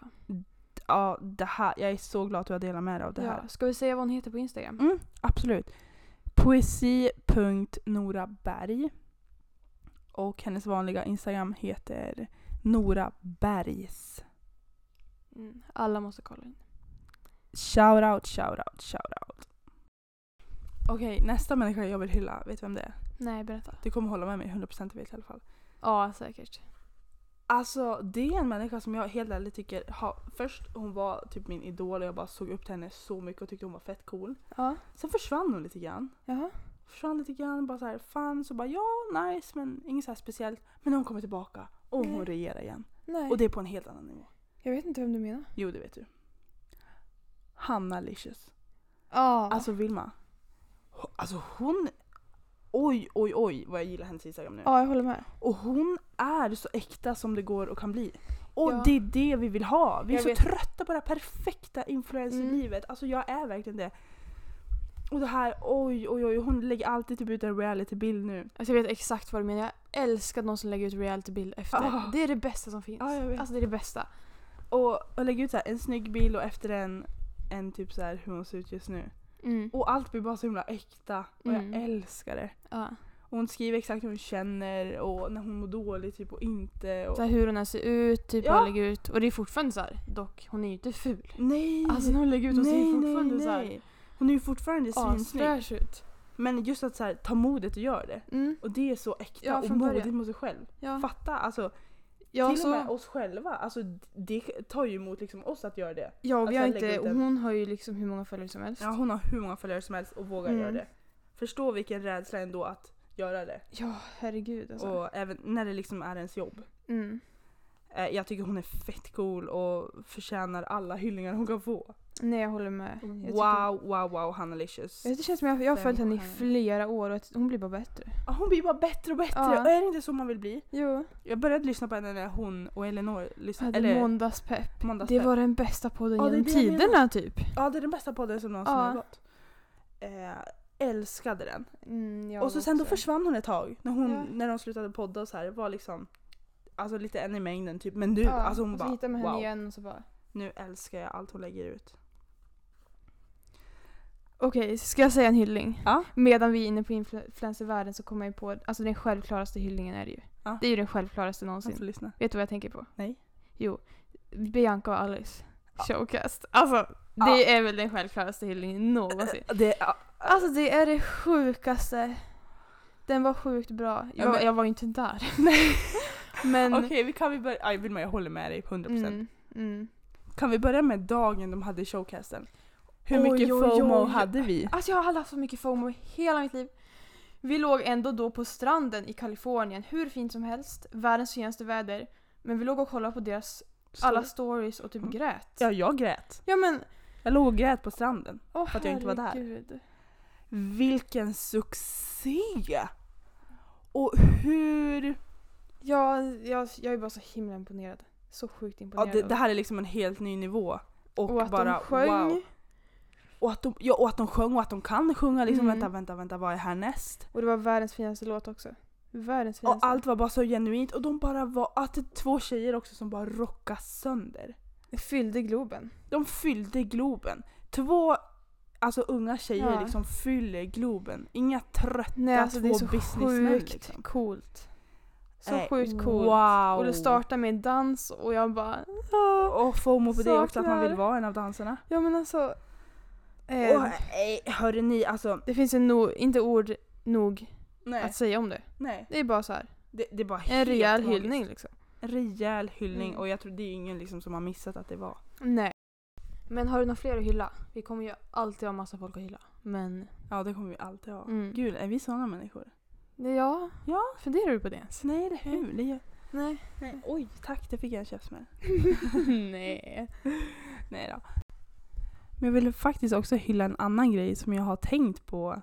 S1: Ja, det här, jag är så glad att du har delat med dig av det här.
S2: Ja. Ska vi säga vad hon heter på Instagram?
S1: Mm, absolut. Poesi.noraberg och hennes vanliga Instagram heter Nora Bergs.
S2: Mm. Alla måste kolla in.
S1: Shout out, shout out, shout out. Okej, nästa människa jag vill hylla, vet du vem det är?
S2: Nej, berätta.
S1: Du kommer hålla med mig 100% vet i alla fall.
S2: Ja, säkert.
S1: Alltså det är en människa som jag helt ärligt tycker, ha, först hon var typ min idol och jag bara såg upp till henne så mycket och tyckte hon var fett cool.
S2: Ja.
S1: Sen försvann hon lite grann.
S2: Jaha.
S1: Försvann lite grann, bara så här fan så bara ja nice men inget så här speciellt. Men hon kommer tillbaka och hon
S2: Nej.
S1: regerar igen.
S2: Nej.
S1: Och det är på en helt annan nivå.
S2: Jag vet inte vem du menar.
S1: Jo det vet du. Hanna Licious.
S2: Ja.
S1: Alltså Vilma. ho- Alltså hon, oj oj oj vad jag gillar hennes Instagram nu.
S2: ja, jag håller med.
S1: Och hon är så äkta som det går och kan bli. Och
S2: Ja.
S1: det är det vi vill ha. Vi är
S4: Jag
S1: så
S4: vet.
S1: trötta på det här perfekta influencerlivet.
S2: Mm.
S1: Alltså jag är verkligen det. Och det här, oj oj oj, hon lägger alltid typ ut en realitybild nu.
S4: Alltså jag vet exakt vad du menar. Jag älskar någon som lägger ut realitybild efter.
S1: Ah.
S4: Det är det bästa som finns.
S1: Ja, jag vet.
S4: Alltså det är det bästa.
S1: Och, och lägger ut så här, en snygg bild och efter en, en typ så här hur hon ser ut just nu.
S2: Mm.
S1: Och allt blir bara så himla äkta. Och
S2: Mm.
S1: jag älskar det.
S2: Ja.
S1: Och hon skriver exakt hur hon känner och när hon mår dåligt typ och inte. Och...
S2: Så här hur hon än ser ut, typ
S1: Ja.
S2: vad hon lägger ut. Och det är fortfarande så här, dock, hon är ju inte ful.
S1: Nej!
S2: Alltså när hon lägger ut, hon ser ju fortfarande så här
S1: Hon är ju fortfarande svinsnygg.
S2: asfräsch ut.
S1: Men just att så här, ta modet och gör det.
S2: Mm.
S1: Och det är så äkta
S2: Ja,
S1: och
S2: från början.
S1: modigt mot sig själv.
S2: Ja.
S1: Fatta alltså,
S2: Ja,
S1: till och
S2: så,
S1: med oss själva. Alltså d- det tar ju emot liksom oss att göra det.
S2: ja
S1: Alltså,
S2: vi har
S1: jag lägger
S2: inte,
S1: ut en-
S2: hon har ju liksom hur många följare som helst.
S1: Ja, hon har hur många följare som helst och vågar
S2: Mm.
S1: göra det. Förstå vilken rädsla ändå att göra det.
S2: Ja, herregud alltså.
S1: Och även när det liksom är ens jobb.
S2: Mm.
S1: Eh, jag tycker hon är fett cool och förtjänar alla hyllningar hon kan få.
S2: Nej jag håller med. Jag tycker-
S1: Wow, wow, wow Hanna Licious.
S2: Jag- Det känns som jag, jag har
S1: Fem
S2: följt henne i
S1: stjärnor.
S2: flera år och att hon blir bara bättre.
S1: Ja, Ah, Hon blir bara bättre och bättre.
S2: Ja.
S1: Och är det inte så man vill bli?
S2: Jo.
S1: Jag började lyssna på henne när hon och Elinor lyssnade.
S2: Hade
S1: Eller
S2: måndagspepp. Det
S1: måndagspepp.
S2: var den bästa podden
S1: Ja, det är
S2: genom
S1: det jag menar.
S2: tiderna typ.
S1: Ja, det är den bästa podden som någonsin
S2: Ja.
S1: har gått. Eh, älskade den.
S2: Mm, jag
S1: och så sen då
S2: också.
S1: försvann hon ett tag. När, hon,
S2: Ja.
S1: när de slutade podda och så här. Var liksom alltså lite en i mängden typ. Men nu,
S2: Ja,
S1: alltså hon
S2: och så
S1: bara
S2: hittar man henne
S1: wow.
S2: igen och så bara.
S1: Nu älskar jag allt hon lägger ut.
S2: Okej, ska jag säga en hyllning?
S1: Ja.
S2: Medan vi är inne på influencervärlden så kommer jag ju på, alltså den självklaraste hyllningen är det ju.
S1: Ja.
S2: Det är ju den självklaraste
S1: Man
S2: någonsin.
S1: får lyssna.
S2: Vet du vad jag tänker på?
S1: Nej.
S2: Jo, Bianca och Alice. Showcast. Alltså, det är väl den självklaraste hyllningen någonsin.
S1: Det, ja,
S2: Alltså det är det sjukaste. Den var sjukt bra. Jag,
S1: men-
S2: jag var ju inte där. Men...
S1: Okej, vi kan vi börja... Aj, Vilma, jag håller med dig på 100%.
S2: Mm, mm.
S1: Kan vi börja med dagen de hade showcasten? Hur
S2: Oj,
S1: mycket
S2: oj,
S1: FOMO
S2: oj.
S1: hade vi?
S2: Alltså jag har aldrig haft så mycket FOMO i hela mitt liv. Vi låg ändå då på stranden i Kalifornien, hur fint som helst, världens finaste väder. Men vi låg och kollade på deras alla stories och typ
S1: Mm.
S2: grät.
S1: Ja, jag grät.
S2: Ja men,
S1: Jag låg och grät på stranden.
S2: åh
S1: att jag inte var där.
S2: herregud.
S1: Vilken succé! Och hur...
S2: Ja, jag, jag är bara så himla imponerad. Så sjukt
S1: Ja,
S2: imponerad.
S1: det, det här är liksom en helt ny nivå. Och,
S2: och att
S1: bara
S2: de sjöng.
S1: wow. Och att, de, ja, och att de sjöng och att de kan sjunga. Liksom,
S2: Mm.
S1: Vänta, vänta, vänta, vad är härnäst?
S2: Och det var världens finaste låt också. Världens
S1: Och
S2: finaste.
S1: allt var bara så genuint. Och de bara var... Att det är två tjejer också som bara rockar sönder.
S2: Fyllde Globen.
S1: De fyllde Globen. Två alltså, unga tjejer
S2: Ja.
S1: liksom fyller Globen. Inga trötta
S2: Nej alltså
S1: två
S2: det är så
S1: businessmän.
S2: sjukt
S1: Liksom.
S2: coolt. Så
S1: Nej,
S2: sjukt coolt.
S1: Wow.
S2: Och det startar med en dans och jag bara... "Ah."
S1: Och FOMO på det också, att man
S2: Saknar.
S1: vill vara en av dansarna.
S2: Ja men alltså... Eh,
S1: Åh, nej, hörni, alltså.
S2: Det finns en no, inte ord nog
S1: Nej,
S2: att säga om det.
S1: nej.
S2: Det är bara så här.
S1: Det, det är bara
S2: En
S1: helt
S2: rejäl
S1: magiskt.
S2: hyllning liksom.
S1: En rejäl hyllning
S2: Mm.
S1: och jag tror det är ingen liksom som har missat att det var.
S2: Nej. Men har du några fler att hylla? Vi kommer ju alltid ha massa folk att hylla. Men...
S1: Ja, det kommer vi alltid ha.
S2: Mm.
S1: Gud, är vi sådana människor?
S2: Ja.
S1: Ja.
S2: Funderar du på det ens?
S1: Nej, eller hur? Det gör...
S2: Mm. Nej.
S1: nej. Oj, tack, det fick jag en käftsmäll.
S2: Nej.
S1: Nej då. Men jag vill faktiskt också hylla en annan grej som jag har tänkt på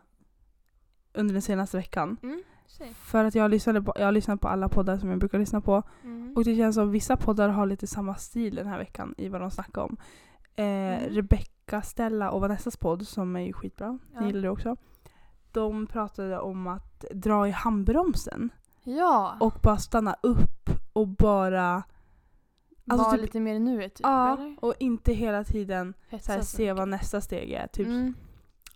S1: under den senaste veckan.
S2: Mm, säg.
S1: För att jag lyssnade på, jag har lyssnat på alla poddar som jag brukar lyssna på.
S2: Mm.
S1: Och det känns som vissa poddar har lite samma stil den här veckan i vad de snackar om. Eh,
S2: Mm.
S1: Rebecca, Stella och Vanessas podd som är ju skitbra,
S2: Ja.
S1: ni gillar det också. De pratade om att dra i handbromsen
S2: Ja.
S1: och bara stanna upp och bara... alltså
S2: Var
S1: typ-
S2: lite mer i nuet typ.
S1: Ja,
S2: eller?
S1: och inte hela tiden så här,
S2: Hetsas
S1: se
S2: mycket.
S1: vad nästa steg är. Typ.
S2: Mm.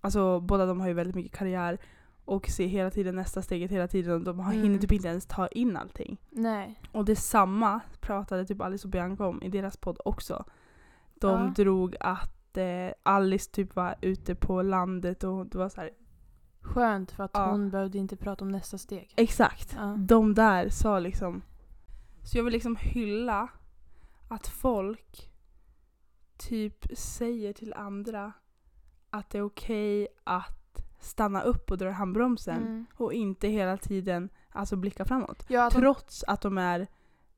S1: Alltså, båda de har ju väldigt mycket karriär och ser hela tiden nästa steget hela tiden och de har hinner
S2: Mm.
S1: typ inte ens ta in allting.
S2: Nej.
S1: Och detsamma pratade typ Alice och Bianca om i deras podd också. De
S2: Ja.
S1: drog att eh, Alice typ var ute på landet och det var så här.
S3: Skönt för att
S1: Ja.
S3: hon behövde inte prata om nästa steg.
S1: Exakt.
S3: Ja.
S1: De där sa liksom... Så jag vill liksom hylla att folk typ säger till andra att det är okej att stanna upp och dra i handbromsen
S3: Mm.
S1: och inte hela tiden alltså blicka framåt.
S2: Ja, att de,
S1: Trots att de är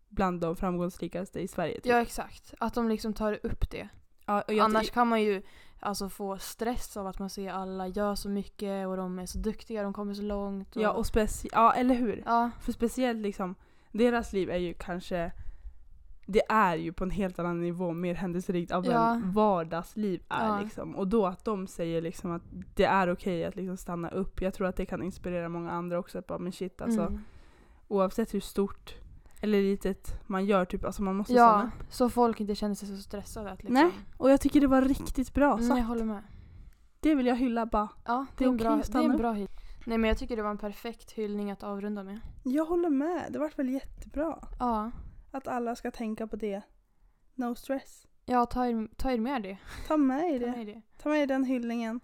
S1: bland de framgångsrikaste i Sverige. typ.
S3: Ja exakt, att de liksom tar upp det.
S1: Ja, och jag,
S3: Annars kan man ju alltså, få stress av att man ser alla gör så mycket och de är så duktiga, de kommer så långt.
S1: ja, och speci- ja, eller hur?
S3: ja,
S1: För speciellt liksom, deras liv är ju kanske det är ju på en helt annan nivå mer händelserikt av
S3: Ja.
S1: vad vardagsliv är.
S3: Ja.
S1: Liksom. Och då att de säger liksom att det är okej att liksom stanna upp. Jag tror att det kan inspirera många andra också. Att bara, men shit, alltså,
S3: mm.
S1: Oavsett hur stort eller litet man gör, typ, alltså, man måste stanna
S3: ja
S1: upp.
S3: så folk inte känner sig så stressade. Att, liksom.
S1: Nej, och jag tycker det var riktigt bra
S3: mm,
S1: sagt.
S3: jag håller med.
S1: Det vill jag hylla bara.
S3: Ja, det,
S1: Det är
S3: är en
S1: okej
S3: bra,
S1: att
S3: det är
S1: stanna
S3: en bra hyll. Nej men jag tycker det var en perfekt hyllning att avrunda med.
S1: Jag håller med, det vart väl jättebra.
S3: Ja,
S1: Att alla ska tänka på det. No stress.
S3: ja ta, er, ta er med det.
S1: Ta med er
S3: Ta med det.
S1: Ta med er den hyllningen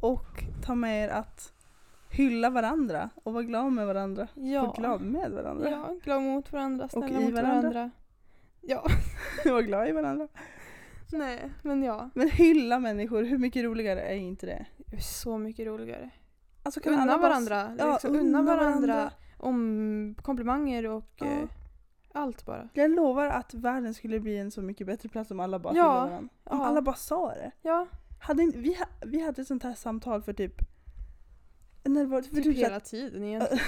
S1: och ta med er att hylla varandra och vara glad med varandra.
S2: ja.
S1: Vara glad med varandra.
S2: Ja, glad mot varandra, snälla
S1: i
S2: mot
S1: varandra.
S2: varandra. Ja,
S1: Vara glad i varandra.
S2: nej, men ja.
S1: Men hylla människor, hur mycket roligare är inte det?
S2: Det är så mycket roligare.
S1: Alltså, kan alla
S2: Unna
S1: bara-
S2: varandra.
S1: Ja,
S2: liksom, unna varandra,
S1: varandra.
S2: om komplimanger och
S1: Ja.
S2: eh, allt bara.
S1: Jag lovar att världen skulle bli en så mycket bättre plats om alla bara
S2: Ja,
S1: hyllade varandra. Om
S2: ja.
S1: alla bara sa det.
S2: Ja,
S1: Hade inte, vi, ha- vi hade ett sånt här samtal för typ... När det var, för
S2: typ
S1: typ så här-
S2: hela tiden egentligen.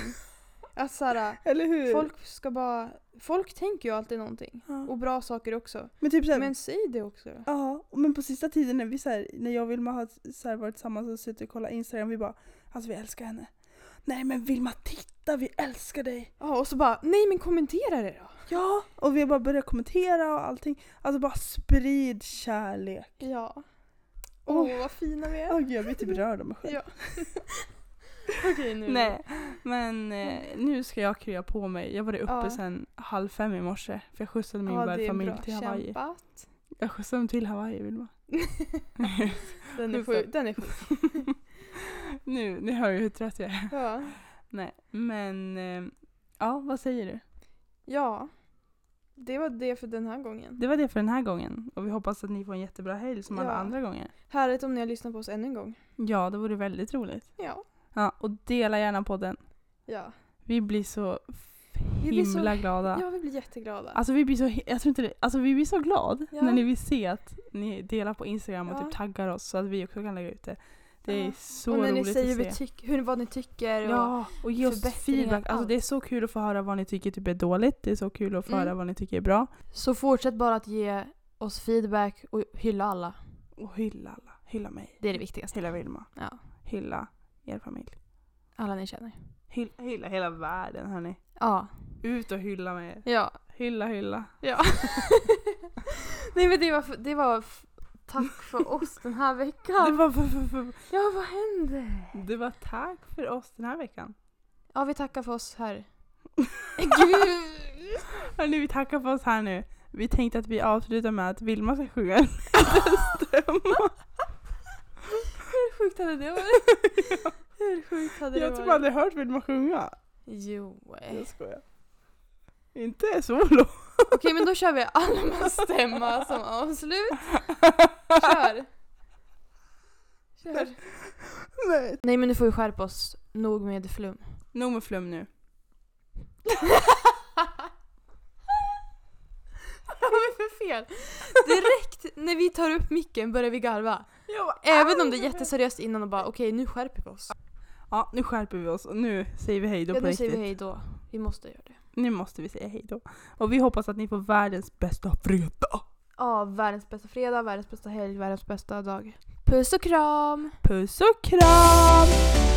S2: att såhär,
S1: eller hur?
S2: folk ska bara... Folk tänker ju alltid någonting.
S1: Ja.
S2: Och bra saker också.
S1: Men typ såhär,
S2: Men säg det också då.
S1: Ja, men på sista tiden när, vi så här, när jag och Vilma har så här varit tillsammans och suttit och kollat Instagram, vi bara alltså vi älskar henne. Nej men Vilma titta vi älskar dig!
S2: Ja, och så bara, nej men kommentera det då.
S1: Ja! Och vi har bara börjat kommentera och allting. Alltså bara sprid kärlek.
S2: Ja. Åh,
S1: Åh.
S2: vad fina vi är.
S1: Åh gud jag blir typ rörd om mig själv.
S2: Ja. Okej nu.
S1: Nej men eh, nu ska jag krya på mig. Jag var uppe
S2: Ja.
S1: sen halv fem i morse för jag skjutsade min
S2: Ja, det är
S1: värdfamilj
S2: bra
S1: till Hawaii.
S2: kämpat.
S1: Jag skjutsade dem till Hawaii Vilma.
S2: Den är
S1: Just det.
S2: sjuk. Den är sjuk.
S1: nu, ni hör ju hur trött jag är.
S2: Ja.
S1: Nej men eh, ja vad säger du?
S2: ja. Det var det för den här gången.
S1: Det var det för den här gången. Och vi hoppas att ni får en jättebra helg som alla
S2: Ja.
S1: andra gånger.
S2: Härligt om ni har lyssnat på oss ännu en gång.
S1: Ja, det vore väldigt roligt.
S2: Ja.
S1: Ja, och dela gärna podden.
S2: Ja.
S1: Vi blir så
S2: Vi blir så-
S1: himla glada.
S2: Ja, vi blir jätteglada.
S1: Alltså vi blir så, hi- jag tror inte det, alltså vi blir så glad
S2: Ja.
S1: när ni vill se att ni delar på Instagram och
S2: Ja.
S1: typ taggar oss så att vi också kan lägga ut det. Det är
S2: Ja.
S1: så
S2: och när ni
S1: roligt
S2: säger
S1: att se.
S2: vi tyck- hur, vad ni tycker och
S1: Ja, och ge oss
S2: förbättringar,
S1: feedback. Alltså
S2: allt.
S1: det är så kul att få höra vad ni tycker typ är dåligt. Det är så kul att få
S2: Mm.
S1: höra vad ni tycker är bra.
S3: Så fortsätt bara att ge oss feedback och hylla alla.
S1: Och hylla alla. Hylla mig.
S3: Det är det viktigaste.
S1: Hylla Vilma.
S3: Ja.
S1: Hylla er familj.
S3: Alla ni känner.
S1: Hylla, hylla hela världen hörni.
S3: Ja.
S1: Ut och hylla med er.
S2: Ja.
S1: Hylla, hylla.
S2: Ja. Nej men det var, f- det var f- tack för oss den här
S1: Det
S2: veckan.
S1: var, för- för- för-
S2: Ja vad händer?
S1: det var tack för oss den här veckan.
S3: Ja vi tackar för oss här.
S2: Gud!
S1: Hörni, vi tackar för oss här nu. Vi tänkte att vi avslutar med att Vilma ska sjunga en stämma.
S2: Hur sjukt hade det varit? Hur sjukt hade
S1: Jag
S2: det
S1: tror
S2: varit?
S1: aldrig hört Vilma sjunga.
S2: Jo. Okej
S1: Jag skojar. Inte solo.
S2: men då kör vi Almas stämma som avslut. Kör! Kör.
S1: Nej.
S3: Nej men nu får vi skärpa oss. Nog med flum.
S1: Nog med flum nu.
S2: Vad har vi för fel? Direkt när vi tar upp micken börjar vi garva. Även om det är jätteseriöst innan och bara okej nu skärper vi oss.
S1: Ja, nu skärper vi oss och nu säger vi hej då
S3: Ja,
S1: på
S3: nu säger
S1: riktigt.
S3: vi hej då. Vi måste göra det.
S1: Nu måste vi säga hej då. Och vi hoppas att ni får världens bästa fredag.
S2: Ja, världens bästa fredag, världens bästa helg, världens bästa dag. Puss och kram!
S1: Puss och kram!